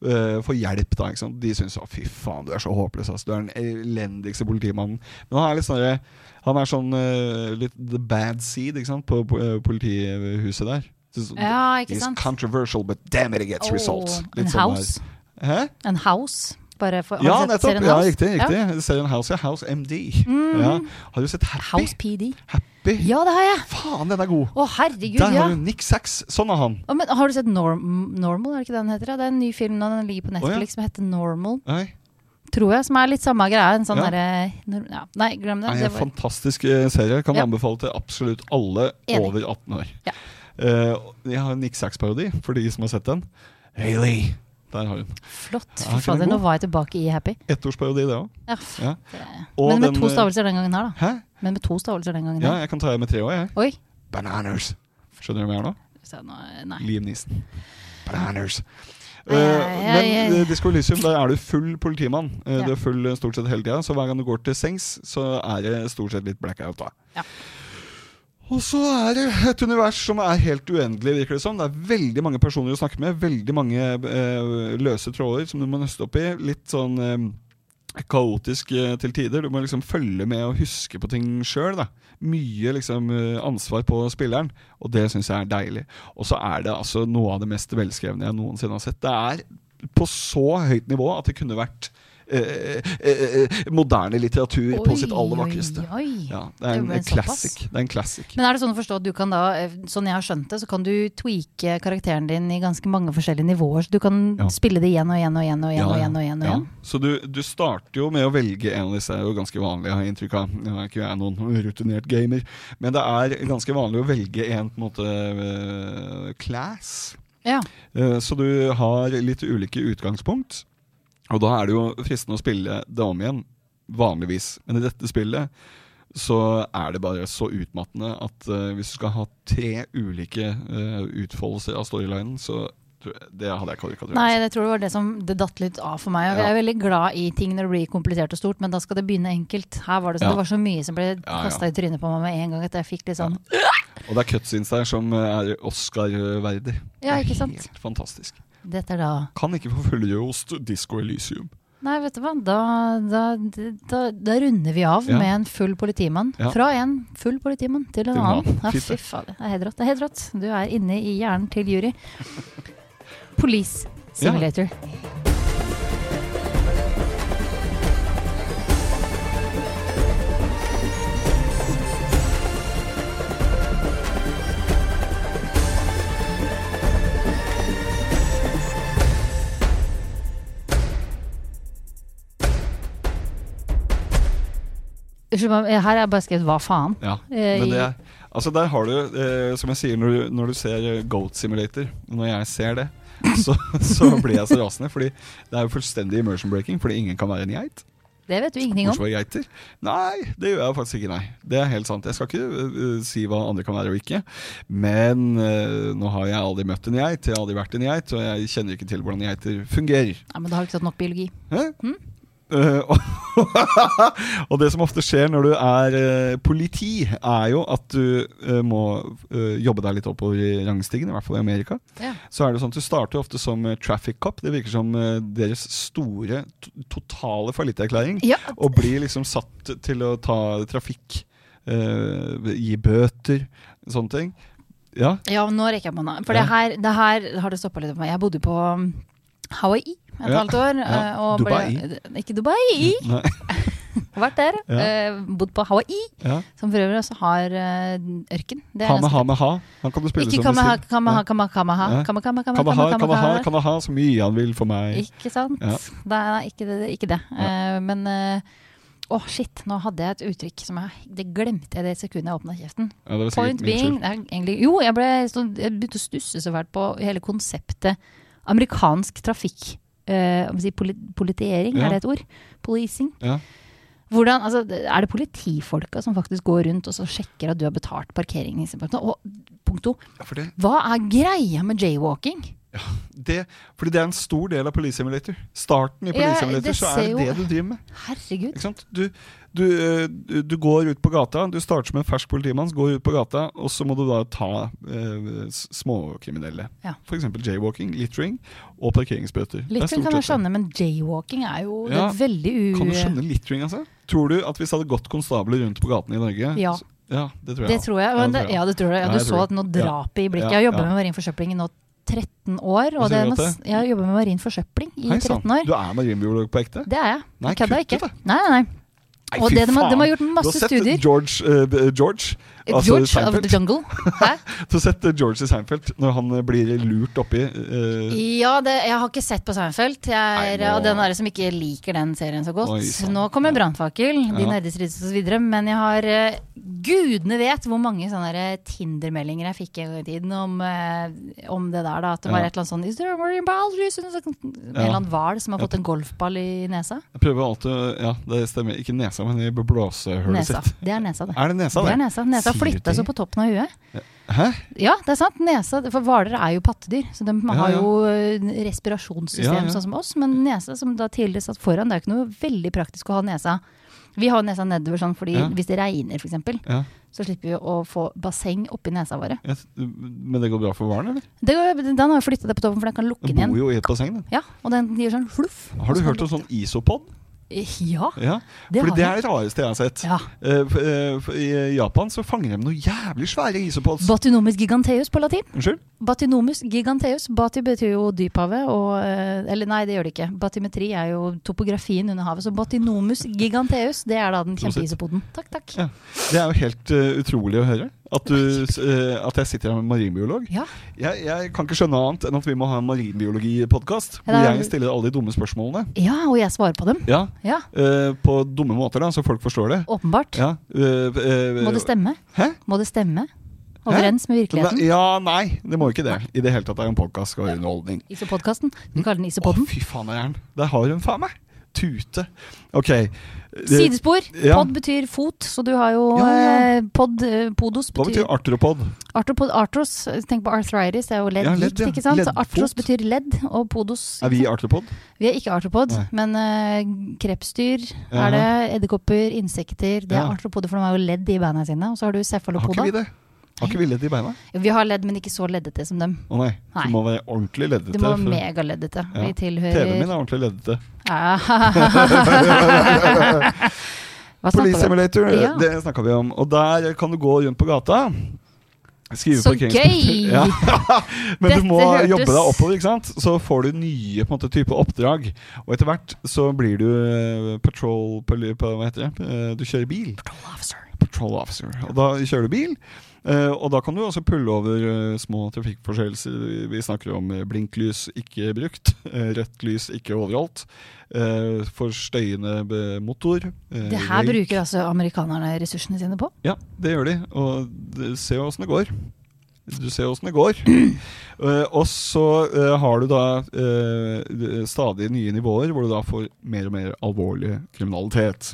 B: eh, få hjelp. da, ikke sant? De syns å, fy faen, du er så håpløs, ass. Du er den elendigste politimannen. Men han er litt sånn derre- han er sånn eh, litt the bad seed ikke sant, på eh, politihuset der. Så-
A: Ja, ikke
B: He's
A: sant?
B: controversial, but damn it, it gets results.
A: Åh,
B: Litt
A: en
B: sånn der.
A: house.
B: Hæ?
A: En house. Bare for,
B: Ja,
A: har du sett
B: nettopp.
A: serien
B: Ja,
A: House?
B: riktig.
A: Ja. Mm.
B: riktig. Serien House, ja. House MD. Ja. Har du sett Happy?
A: House PD.
B: Happy?
A: Ja, det har jeg.
B: Faen, den er god!
A: Å, herregud,
B: Der
A: ja.
B: har du Nick Sax. Sånn er han.
A: Å, men har du sett Norm Normal? Er det ikke det den heter? da? Det er en ny film nå, den ligger på Netflix
B: Å, ja.
A: som heter Normal,
B: Nei,
A: tror jeg. Som er litt samme greia. En sånn
B: Ja.
A: derre nor- ja. Nei, glem det.
B: Nei,
A: det
B: en
A: var,
B: fantastisk eh, serie. Kan
A: Ja.
B: anbefale til absolutt alle
A: Enig.
B: over 18 år.
A: Ja.
B: Eh, jeg har en Nick Sax-parodi for de som har sett den. Hayley. Der har hun.
A: flott. Fy
B: Ja, ikke den
A: fader, nå
B: god?
A: var jeg tilbake i Happy.
B: Ettårsparodi, det òg.
A: Ja, f-
B: Ja.
A: det-
B: Og
A: Men med
B: den,
A: to
B: eh,
A: stavelser den gangen her, da.
B: Hæ?
A: Men med to stavelser den gangen
B: Ja,
A: her.
B: jeg kan ta det med tre år, jeg.
A: Oi.
B: Bananas. Skjønner du hvem jeg er nå?
A: Så nå- Nei.
B: Liam Neeson. Bananas.
A: Ai,
B: Eh,
A: ai,
B: men
A: ai, ai.
B: eh, Disco Elysium, der er du full politimann. Eh,
A: Ja.
B: Du er full eh, stort sett hele tida, så hver gang du går til sengs, så er det stort sett litt blackout. da
A: Ja.
B: Og så er det et univers som er helt uendelig, virker det som. Det er veldig mange personer å snakke med, veldig mange eh, løse tråder som du må nøste opp i. Litt sånn eh, kaotisk eh, til tider. Du må liksom følge med og huske på ting sjøl. Mye liksom eh, ansvar på spilleren, og det syns jeg er deilig. Og så er det altså noe av det mest velskrevne jeg noensinne har sett. Det er på så høyt nivå at det kunne vært eh, eh, eh, moderne litteratur på sitt aller
A: Oi,
B: vakreste.
A: Oi, oi.
B: Ja, det er
A: Det
B: en,
A: ble
B: en
A: såpass.
B: classic. Det er en classic.
A: Men er det sånn å forstå at du kan da, eh, sånn jeg har skjønt det, så kan du tweake karakteren din i ganske mange forskjellige nivåer, så du kan
B: Ja.
A: spille det igjen og igjen og igjen og igjen
B: Ja,
A: og
B: ja.
A: igjen og igjen. Og
B: Ja.
A: igjen.
B: Så du, du starter jo med å velge en av disse, er jo ganske vanlig, har jeg inntrykk av. Nå er ikke jeg noen rutinert gamer, men det er ganske vanlig å velge en på en måte eh, class.
A: Ja.
B: Eh, Så du har litt ulike utgangspunkt, og da er det jo fristende å spille det om igjen, vanligvis. Men i dette spillet så er det bare så utmattende at eh, hvis du skal ha tre ulike eh, utfoldelser av storylinen, så Tror- Det hadde jeg altså. ikke orka.
A: Nei, jeg tror det var det som det datt litt av for meg. Og
B: Ja.
A: Jeg er veldig glad i ting når det blir komplisert og stort, men da skal det begynne enkelt. Her var det, så,
B: Ja.
A: det var så mye som ble
B: ja.
A: kasta i trynet på meg med en gang at jeg fikk litt sånn
B: Og det er cutscenes der som eh, er Oscar-verdig.
A: Ja,
B: Det er
A: ikke sant?
B: Helt fantastisk.
A: Dette er da
B: Kan ikke få følge oss til Disco Elysium.
A: Nei, vet du hva. Da, da, da, da runder vi av
B: Ja.
A: med en full politimann.
B: Ja.
A: Fra en full politimann til en
B: Til en
A: annen.
B: annen.
A: Ja,
B: Fint,
A: fy
B: det.
A: fader. Det er helt rått. Det er helt rått. Du er inne i hjernen til jury. Police
B: Ja.
A: simulator. Unnskyld meg, her har jeg bare skrevet 'hva faen'.
B: Ja,
A: Eh,
B: men
A: i-
B: det er, altså der har du, eh, som jeg sier når du, når du ser eh, Goat Simulator Når jeg ser det, så, så blir jeg så rasende. Fordi det er jo fullstendig immersion breaking, fordi ingen kan være en geit.
A: Det vet du ingenting om.
B: Hvorfor er geiter? Nei, det gjør jeg faktisk ikke. nei Det er helt sant. Jeg skal ikke eh, si hva andre kan være og ikke. Men eh, nå har jeg aldri møtt en geit, jeg har aldri vært en geit, og jeg kjenner ikke til hvordan geiter fungerer.
A: Nei, men da har du ikke tatt nok biologi.
B: Hæ? Eh, og- Eh, og det som ofte skjer når du er eh, politi, er jo at du eh, må eh, jobbe deg litt oppover i rangstigen, i hvert fall i Amerika.
A: Ja.
B: Så er det sånn at Du starter ofte som eh, traffic cop. Det virker som eh, deres store, to totale fallitterklæring.
A: Ja,
B: Og blir liksom satt til å ta trafikk, eh, gi bøter, sånne ting. Ja,
A: nå rekker jeg på meg. For
B: Ja.
A: det, her, det her har det stoppa litt for meg. Jeg bodde på um, Hawaii et
B: Ja.
A: halvt år.
B: Ja.
A: eh, og
B: Dubai.
A: Ble, ikke Dubai!
B: nei,
A: Vært der.
B: Ja.
A: eh, bodd på Hawaii,
B: ja.
A: som for øvrig også har eh, ørken. Det er
B: Ha med
A: nesten-
B: ha med ha. Han kan du spille
A: Ikke
B: som du
A: kamaha,
B: sier.
A: kamaha,
B: Ja.
A: kamaha, kamaha,
B: Ja.
A: kamaha, kamaha,
B: Kan ha,
A: kamaha,
B: kan ha, kan ha så mye han vil for meg.
A: Ikke sant?
B: Ja.
A: Det er nei, ikke det. det, er ikke det. Eh, men eh, å, shit, nå hadde jeg et uttrykk som jeg Det glemte jeg det sekundet jeg åpna kjeften.
B: Ja, det var sikkert
A: Point
B: min skyld.
A: being det er egentlig, Jo, jeg, ble, så, jeg begynte å stusse så fælt på hele konseptet amerikansk trafikk. eh, om å si, poli, politiering,
B: Ja.
A: er det et ord? Policing.
B: Ja.
A: Hvordan, altså, det- er det politifolka som faktisk går rundt og så sjekker at du har betalt parkering? Og punkt to,
B: Ja, for det,
A: hva er greia med jaywalking?
B: det, fordi det er en stor del av Police Simulator. Starten i Police
A: Ja,
B: Simulator
A: det
B: så
A: ser
B: er det
A: jo-
B: det du driver med.
A: Herregud.
B: Ikke sant? Du, du, eh, du- du går ut på gata, du starter som en fersk politimann, så går du ut på gata, og så må du da ta eh, s- småkriminelle.
A: Ja.
B: F.eks. jaywalking, littering og parkeringsbøter. Det er
A: Litt
B: stort
A: kan jeg
B: sett det.
A: skjønne, eh, men jaywalking er jo det
B: Ja.
A: er veldig u...
B: Kan du skjønne littering, altså? Tror du at hvis det hadde gått konstabler rundt på gatene i Norge
A: Ja.
B: så- ja, det tror jeg.
A: Det
B: også.
A: tror jeg.
B: Ja,
A: Men
B: det
A: det,
B: tror jeg.
A: ja, det tror jeg.
B: Ja,
A: Ja, du
B: jeg tror
A: så
B: det.
A: at nå drapet i blikket.
B: Ja,
A: Jeg jobber med
B: ja.
A: marin forsøpling i nå 13 år.
B: Hva
A: Og det
B: sier
A: er
B: du at
A: nes- jeg har jobbet med marin forsøpling i
B: Hei, sann.
A: 13 år.
B: Du er marinbiolog på ekte?
A: Det er jeg.
B: Nei,
A: Jeg kødder
B: kutt
A: ikke.
B: ut, da.
A: Nei, nei, nei.
B: Nei,
A: Og
B: fy
A: det de, har- de har
B: faen.
A: gjort masse studier.
B: Du har sett George, eh, George, altså
A: George of
B: Seinfeld.
A: the Jungle. Hæ?
B: Du har sett eh, George i Seinfeld når han eh, blir lurt oppi eh,
A: Ja, det, jeg har ikke sett på Seinfeld. Jeg
B: Nei,
A: er
B: nå-
A: av den der som ikke liker den serien så godt.
B: Oi, sant.
A: Nå kommer Brannfakkel, De
B: Ja.
A: nerdes rides og så videre Men jeg har eh, Gudene vet hvor mange sånne der eh, Tinder-meldinger jeg fikk en gang i tiden om, eh, om det der. da At det
B: Ja.
A: var et eller annet sånn Is there a marine biologist? En sånn, eller annen hval som har fått en golfball i nesa.
B: Jeg prøver alltid å- Ja, det stemmer. Ikke nesa, men i blåsehullet
A: Nesa.
B: sitt.
A: Det er nesa, det.
B: Er det nesa,
A: Det
B: det?
A: er nesa. Nesa
B: Sier du
A: flytta
B: ting?
A: seg på toppen av huet.
B: Hæ?
A: Ja, det er sant. Nesa, For hvaler er jo pattedyr, så de
B: Ja,
A: har
B: ja.
A: jo eh, respirasjonssystem
B: Ja, ja.
A: sånn som oss. Men nesa, som da tidligere satt foran, det er jo ikke noe veldig praktisk å ha nesa. Vi har nesa nedover sånn fordi
B: Ja.
A: hvis det regner f.eks.,
B: Ja.
A: så slipper vi å få basseng oppi nesa våre.
B: Jeg, men det går bra for hvalen, eller?
A: Det, går- den har jo flytta det på toppen, for den kan lukke den
B: Den bor
A: igjen.
B: jo i et basseng, den.
A: Ja, og den gir sånn fluff. Eh,
B: Har du hørt om sånn isopod?
A: Ja,
B: Ja.
A: det
B: Fordi det
A: har
B: er
A: jeg.
B: det rareste jeg har sett.
A: Ja.
B: Eh, f- eh, f- I Japan så fanger de noen jævlig svære isopods.
A: Batinomus giganteus på latin.
B: Unnskyld?
A: Batinomus giganteus. Bati betyr jo dyphavet, og eh, Eller nei, det gjør det ikke. Batimetri er jo topografien under havet. Så batinomus giganteus, det er da den
B: Prosit.
A: kjempeisopoden. Takk, takk.
B: Ja. Det er jo helt eh, utrolig å høre. At, du, eh, at jeg sitter her med en marinbiolog.
A: Ja.
B: Jeg, jeg kan ikke skjønne annet enn at vi må ha en marinbiologipodkast.
A: Ja,
B: Hvor
A: det er-
B: jeg stiller alle de dumme spørsmålene.
A: ja, og jeg svarer på dem.
B: Ja,
A: Ja,
B: eh, På dumme måter, da, så folk forstår det.
A: åpenbart.
B: Ja, eh, eh,
A: Må det stemme?
B: Hæ?
A: Må det stemme? Overens med virkeligheten?
B: Ja, nei, det må jo ikke det. I det hele tatt er jo en podkast skal være underholdning.
A: Isopodkasten. Du kaller den
B: Å,
A: Isopodden?
B: fy faen, er den. Der har hun faen meg! Tute. Ok. eh,
A: Sidespor.
B: ja.
A: Pod betyr fot, så du har jo
B: Ja, ja, ja.
A: eh, pod, eh, Podos
B: Hva betyr
A: betyr
B: artropod?
A: arthropod, Artros. Tenk på arthritis, det er jo ledd.
B: Ja, ledd,
A: gikt,
B: ja.
A: ikke sant? Så
B: Leddfot.
A: artros betyr ledd, og podos
B: Er vi artropod?
A: Vi er ikke arthropod,
B: Nei.
A: men eh, krepsdyr
B: Ja.
A: er det. Edderkopper, insekter. Det er
B: Ja.
A: arthropoder, for de har jo ledd i beina sine. Og så har du
B: Har
A: cefalopoda.
B: ikke vi det? Har ikke vi ledd i beina?
A: Jo, Vi har ledd, men ikke så leddete som dem.
B: Å nei.
A: Nei.
B: Du må være ordentlig leddete.
A: Du må
B: for-
A: være megaleddete.
B: Ja.
A: Vi tilhører
B: TV-en min er ordentlig leddete.
A: Ja. Hva
B: Police
A: snakker du om?
B: Simulator,
A: Ja.
B: det snakka vi om. Og der kan du gå rundt på gata. Skrive
A: Så
B: parkeringspunkter.
A: gøy!
B: Ja. Men
A: Dette
B: du må
A: hørtes-
B: jobbe deg oppover, ikke sant? Så får du nye på en måte, type oppdrag. Og etter hvert så blir du eh, patrol poli- på, Hva heter det? Eh, Du kjører bil. Patrol officer. Og da kjører du bil. eh, og da kan du også pulle over eh, små trafikkforseelser. Vi- Vi snakker om eh, blinklys ikke brukt, eh, rødt lys ikke overholdt, eh, for støyende eh, motor eh,
A: Det her
B: røyk.
A: bruker altså amerikanerne ressursene sine på.
B: Ja, det gjør de. Og det- se åssen det går. Du ser åssen det går. Eh, og så eh, har du da eh, d- stadig nye nivåer hvor du da får mer og mer alvorlig kriminalitet.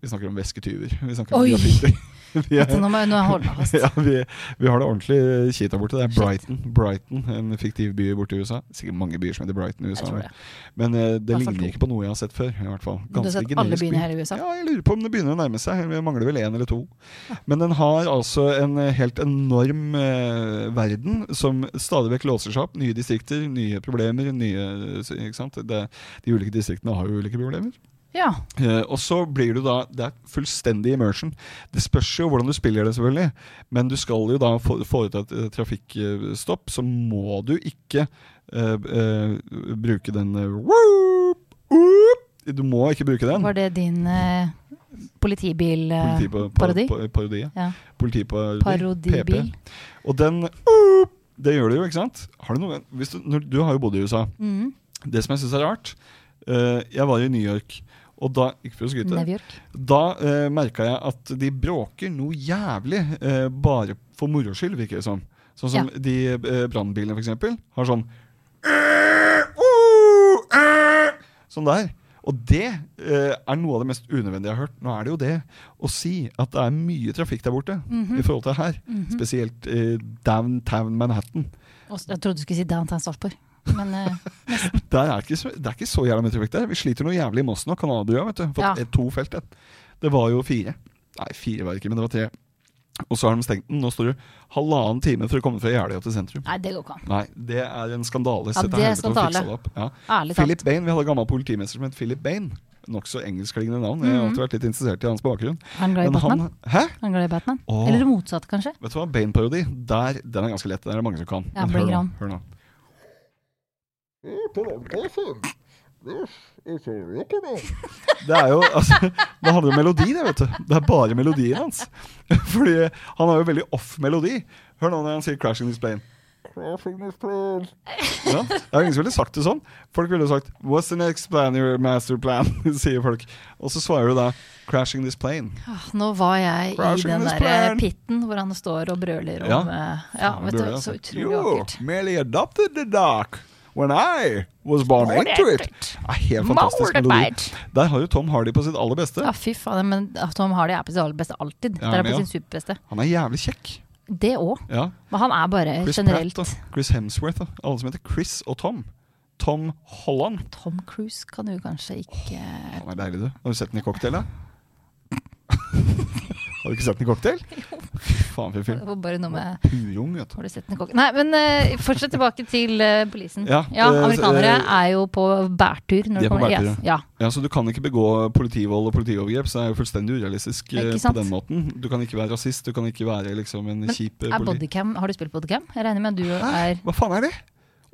B: Vi snakker om væsketyver. Vi snakker om
A: Oi!
B: graffiti. Vi er-
A: Så nå må jeg nå holde meg fast.
B: ja, vi, vi har det ordentlig kjipt der borte. Det er
A: Shit.
B: Brighton, Brighton, en fiktiv by borte i USA. Sikkert mange byer som heter Brighton i
A: Jeg
B: USA.
A: tror det.
B: Men eh, sånn det
A: hvert fall
B: ligner
A: to.
B: ikke på noe jeg har sett før. i hvert fall.
A: Du har sett
B: Ganske
A: alle
B: generisk by.
A: byene her altså? i USA?
B: Ja, jeg lurer på om det begynner å nærme seg. Vi mangler vel én eller to. Men den har altså en eh, helt enorm eh, verden som stadig vekk låser seg opp. Nye distrikter, nye problemer. nye, eh, ikke sant? Det, de ulike distriktene har jo ulike problemer.
A: Ja.
B: Eh, og så blir du da Det er fullstendig immersion. Det spørs jo hvordan du spiller det, selvfølgelig. Men du skal jo da få- foreta et eh, trafikkstopp, så må du ikke eh, eh, bruke den eh, whoop, whoop. Du må ikke bruke den.
A: Var det din eh, politibil eh,
B: Politi på, på,
A: parodi?
B: På, parodi, ja.
A: Ja.
B: Politi på eh,
A: Parodibil.
B: Og den Det gjør du jo, ikke sant? Har du noe, hvis du, når, du har jo bodd i USA.
A: Mm.
B: Det som jeg syns er rart eh, Jeg var i New York, og da Ikke for å skryte.
A: New York.
B: Da uh, merka jeg at de bråker noe jævlig eh, bare for moro skyld, virker det som. Sånn som de uh, brannbilene, f.eks., har sånn Sånn der. Og det eh, er noe av det mest unødvendige jeg har hørt. Nå er det jo det å si at det er mye trafikk der borte i forhold til her. Spesielt eh, downtown Manhattan.
A: Og s- Jeg trodde du skulle si Downtown Sarpsborg. Men eh,
B: Der er ikke så, det er ikke så jævla mye trafikk der. Vi sliter noe jævlig i Moss nå. Canadabrua, vet du. Fått
A: Ja.
B: et- to felt. et. Det var jo fire. Nei, fire var det ikke, men det var tre. Og så har de stengt den. Nå står det halvannen time for å komme fra Jeløya til sentrum.
A: nei, det går ikke an.
B: Nei, det er en skandale.
A: Ja,
B: Se til
A: det er
B: helvete å
A: skandale.
B: fikse det opp. Ja.
A: Ærlig talt.
B: Philip Bain, Vi hadde en gammel politimester som het Philip Bain. Nokså engelskklingende navn. Jeg har
A: Mhm.
B: alltid vært litt interessert i hans bakgrunn.
A: Er han glad i Batman?
B: han, hæ?
A: Er Han glad i Batman?
B: Åh.
A: Eller det motsatte, kanskje?
B: Vet du hva, Bane-parodi, der- den er ganske lett. Den er det mange som kan.
A: Ja,
B: Men
A: bring
B: hør
A: it
B: nå,
A: on.
B: hør nå. Det er jo altså, Da hadde du melodi, det, vet du. Det er bare melodien hans. Fordi han har jo veldig off-melodi. Hør nå når han sier 'crashing this plane'. Ja, det er jo ingen som ville sagt det sånn. Folk ville jo sagt 'What's the next plan, your master plan?' sier folk. Og så svarer du da 'Crashing this plane'.
A: Åh, Ah, Nå var jeg i
B: Crashing
A: den
B: this
A: derre
B: plane.
A: pitten hvor han står og brøler om
B: Ja.
A: eh, ja
B: Faen, altså.
A: vet
B: det
A: du,
B: burde jeg
A: så
B: sagt.
A: utrolig
B: You
A: vakkert.
B: merely adopted the dark when I was born
A: Born
B: into it.
A: into it.
B: Ja, helt fantastisk melodi.
A: Mortified.
B: Der har jo Tom Hardy på sitt aller beste.
A: Ja, fy faen. Men Tom Hardy er på sitt aller beste alltid.
B: Ja,
A: Der er
B: men
A: på
B: ja.
A: sin superbeste.
B: Han er jævlig kjekk.
A: Det òg.
B: Ja.
A: Men han er bare
B: Chris
A: generelt
B: Pratt og Chris Hemsworth. Da. Alle som heter Chris og Tom. Tom Holland.
A: Tom Cruise kan du kanskje ikke
B: Han er deilig, du. Har du sett den i cocktail, da? har du ikke sett den i cocktail? Fy Faen, for en film.
A: Det var bare noe med
B: Purung, vet du.
A: Har du sett den kokken? Nei, men eh, fortsett tilbake til uh, polisen. Ja,
B: Ja, eh,
A: amerikanere
B: eh,
A: er jo på bærtur når
B: De
A: det
B: er på
A: kommer
B: bærtur,
A: yes. Ja.
B: Ja, Så du kan ikke begå politivold og politiovergrep, så det er jo fullstendig urealistisk
A: Ikke
B: eh, på
A: sant?
B: den måten. Du kan ikke være rasist, du kan ikke være liksom en
A: Men
B: kjip eh,
A: Er
B: politi...
A: bodycam Har du spilt bodycam? Jeg regner med at du er
B: Hva faen er det?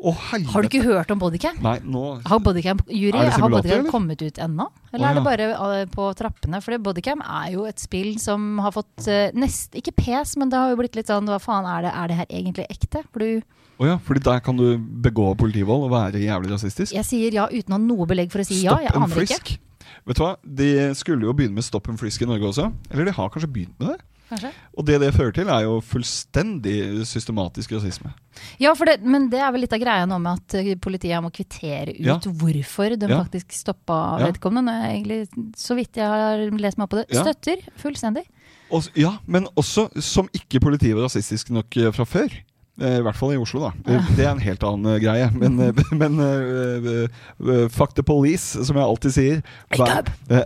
B: Å, helvete.
A: Har du ikke hørt om bodycam?
B: Nei, nå
A: Har bodycam jury,
B: Er det
A: har
B: simulator,
A: bodycam
B: eller?
A: kommet ut ennå? Eller
B: Å,
A: er det
B: ja.
A: bare eh, på trappene? Fordi bodycam er jo et spill som har fått eh, nest, ikke pes, men det har jo blitt litt sånn hva faen er det, er det her egentlig ekte? For du,
B: Å ja, fordi der kan du begå politivold og være jævlig rasistisk?
A: jeg sier ja uten å ha noe belegg for å si ja, jeg
B: and
A: aner ikke.
B: frisk. Vet du hva, De skulle jo begynne med stop and frisk i Norge også. Eller de har kanskje begynt med det?
A: kanskje?
B: Og det det fører til, er jo fullstendig systematisk rasisme.
A: Ja, for det, men det er vel litt av greia nå med at eh, politiet må kvittere ut
B: Ja.
A: hvorfor de
B: Ja.
A: faktisk stoppa
B: Ja.
A: vedkommende. Når jeg egentlig, så vidt jeg har lest meg opp på det,
B: Ja.
A: støtter fullstendig.
B: Og, s- ja, men også som ikke politiet var rasistisk nok eh, fra før. Eh, I hvert fall i Oslo, da. Eh, Det er en helt annen eh, greie. Men, eh, men eh, eh, eh, fuck the police, som jeg alltid sier.
A: Akab.
B: Eh,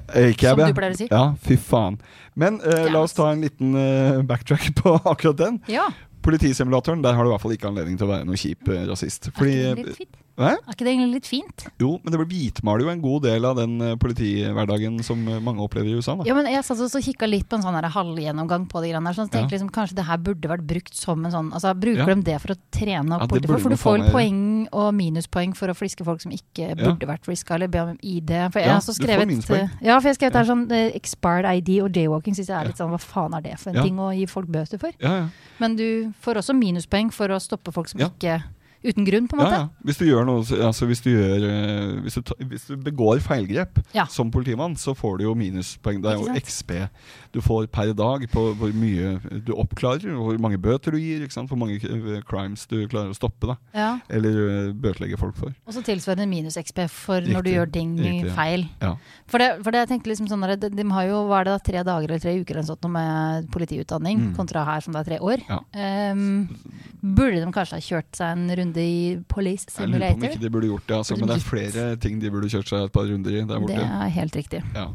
A: Som
B: akab, ja.
A: du pleier å si.
B: Ja, fy faen. Men eh, la
A: Ja. altså.
B: oss ta en liten eh, backtrack på akkurat den.
A: Ja.
B: Politisimulatoren, der har du i hvert fall ikke anledning til å være noen kjip eh, rasist. Fordi,
A: er, ikke det litt fint?
B: Hæ?
A: er ikke det egentlig litt fint?
B: Jo, men det blir hvitmaler jo en god del av den eh, politihverdagen som eh, mange opplever i USA. da
A: Ja, men jeg satt også og kikka litt på en sånn her halvgjennomgang på de greiene der. Så jeg
B: Ja.
A: tenkte liksom, kanskje det her burde vært brukt som en sånn altså, Bruker
B: Ja.
A: de det for å trene
B: Ja,
A: opp
B: det burde
A: politifolk? For du
B: de
A: får
B: faen
A: vel
B: meg
A: poeng og minuspoeng for å fliske folk som ikke burde vært friska, eller be om ID. For jeg
B: Ja,
A: har også
B: du får
A: skrevet eh,
B: minuspoeng.
A: Ja, for jeg har skrevet her sånn eh, expired ID og jaywalking syns jeg er
B: Ja.
A: litt sånn hva faen er det for en
B: Ja.
A: ting å gi folk bøter for?
B: Ja, ja.
A: Men du får også minuspoeng for å stoppe folk som
B: Ja.
A: ikke Uten grunn, på en
B: Ja,
A: måte.
B: ja. Hvis du gjør noe altså hvis, du gjør, eh, hvis, du ta, hvis du begår feilgrep
A: Ja.
B: som politimann, så får du jo minuspoeng. Det er
A: Ikke
B: jo
A: sant?
B: XP du får per dag på hvor mye du oppklarer, hvor mange bøter du gir, ikke sant? hvor mange eh, crimes du klarer å stoppe. da
A: Ja.
B: Eller eh, bøtelegge folk for.
A: Og så tilsvarende minus-XP for når du
B: Riktig.
A: gjør ting
B: Riktig, ja.
A: feil.
B: Ja.
A: For det, for det jeg tenkte liksom sånn der, de, de har jo hva er det da, tre dager eller tre uker eller sånt, noe med politiutdanning,
B: Mm.
A: kontra her som det er tre år.
B: Ja.
A: Ehm, burde de kanskje ha kjørt seg en runde i Police
B: Jeg lurer på om
A: Simulator?
B: ikke de burde gjort det, altså,
A: Burde
B: men det er
A: gitt.
B: flere ting de burde kjørt seg et par runder i der
A: Det
B: borte.
A: er helt riktig.
B: Ja.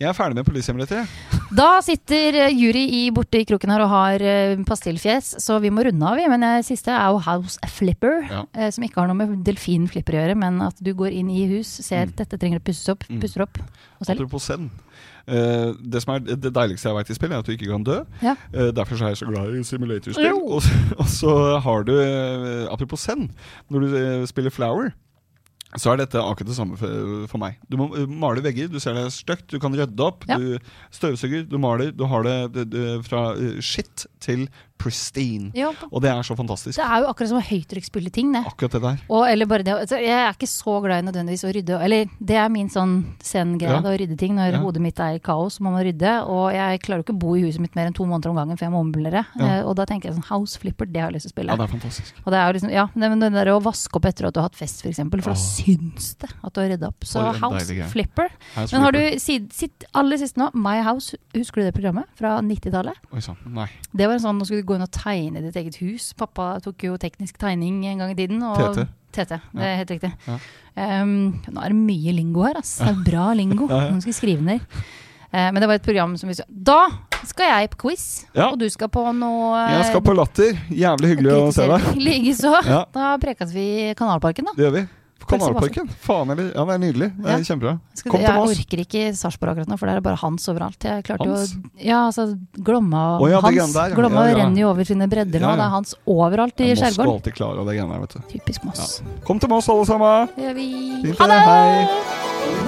B: Jeg er ferdig med politisimulator. jeg.
A: Da sitter eh, jury i borte i kroken her og har eh, pastillfjes, så vi må runde av, vi. Men eh, siste er jo House Flipper,
B: Ja.
A: eh, som ikke har noe med delfinflipper å gjøre, men at du går inn i hus, ser
B: Mm.
A: dette trenger det pusses opp,
B: Mm.
A: pusser opp og selger.
B: Apropos Zen. Eh, det som er det deiligste jeg veit i spill, er at du ikke kan dø.
A: Ja.
B: Eh, derfor så er jeg så glad i simulatorspill.
A: Jo.
B: Og, så- og så har du eh, Apropos Zen. Når du eh, spiller Flower, så er dette akkurat det samme for, for meg. Du må eh, male vegger, du ser det er stygt, du kan rydde opp.
A: Ja.
B: Du støvsuger, du maler. Du har det, det, det fra eh, shit til pristine.
A: Ja, på-
B: Og det er så fantastisk.
A: det er jo akkurat som å høytrykksspille ting, det.
B: Akkurat det der.
A: Og, eller bare det, altså, jeg er ikke så glad i nødvendigvis å rydde. Eller det er min sånn zen-greie,
B: Ja.
A: det å rydde ting. Når
B: Ja.
A: hodet mitt er i kaos, så må man rydde. Og jeg klarer jo ikke å bo i huset mitt mer enn to måneder om gangen, for jeg må ommøblere.
B: Ja.
A: Eh, og da tenker jeg sånn House Flipper, det har jeg lyst til å
B: Ja,
A: spille.
B: det er fantastisk.
A: og det er jo liksom, ja, det, men det der å vaske opp etter at du har hatt fest, f.eks., for, eksempel, for
B: Åh.
A: da syns det at du har rydda opp. Så
B: For en
A: House
B: deilig greie.
A: Flipper.
B: Her
A: Men har du
B: slipper-
A: sid, sitt, aller siste nå, My House, husker du det programmet fra 90-tallet?
B: Oi sann, nei.
A: Det var en sånn, nå skulle du gå inn og tegne ditt eget hus. Pappa tok jo teknisk tegning en gang i tiden. Og
B: TT.
A: TT, det
B: Ja.
A: er helt riktig.
B: Ja.
A: Ehm, nå er det mye lingo her, ass. Det er bra lingo.
B: Ja, ja.
A: Nå skal jeg skrive ned. Eh, men det var et program som vi så Da skal jeg på quiz,
B: Ja.
A: og du skal på noe eh,
B: Jeg skal på Latter. Jævlig hyggelig å se deg.
A: Likeså.
B: Ja.
A: Da prekas vi i Kanalparken, da.
B: Det gjør vi.
A: Takk skal du ha.
B: Kanalparken. Faen eller Ja, det er nydelig. Det er
A: Ja.
B: Kjempebra.
A: Skal,
B: Kom
A: jeg
B: til Moss.
A: orker ikke Sarpsborg akkurat nå, for der er det bare Hans overalt. Jeg klarte jo
B: Hans?
A: å Ja, altså Glomma
B: Å ja, det
A: Hans.
B: greiene der, ja.
A: Glomma
B: Ja, ja.
A: renner jo over sine bredder nå.
B: Ja, ja.
A: Det er Hans overalt i
B: Ja, Moss går
A: skjærgården.
B: alltid klar av det greiene der, vet du.
A: Typisk Moss.
B: Kom til Moss, alle sammen!
A: Det gjør vi.
B: Fint,
A: Ha
B: det.
A: det!
B: Hei.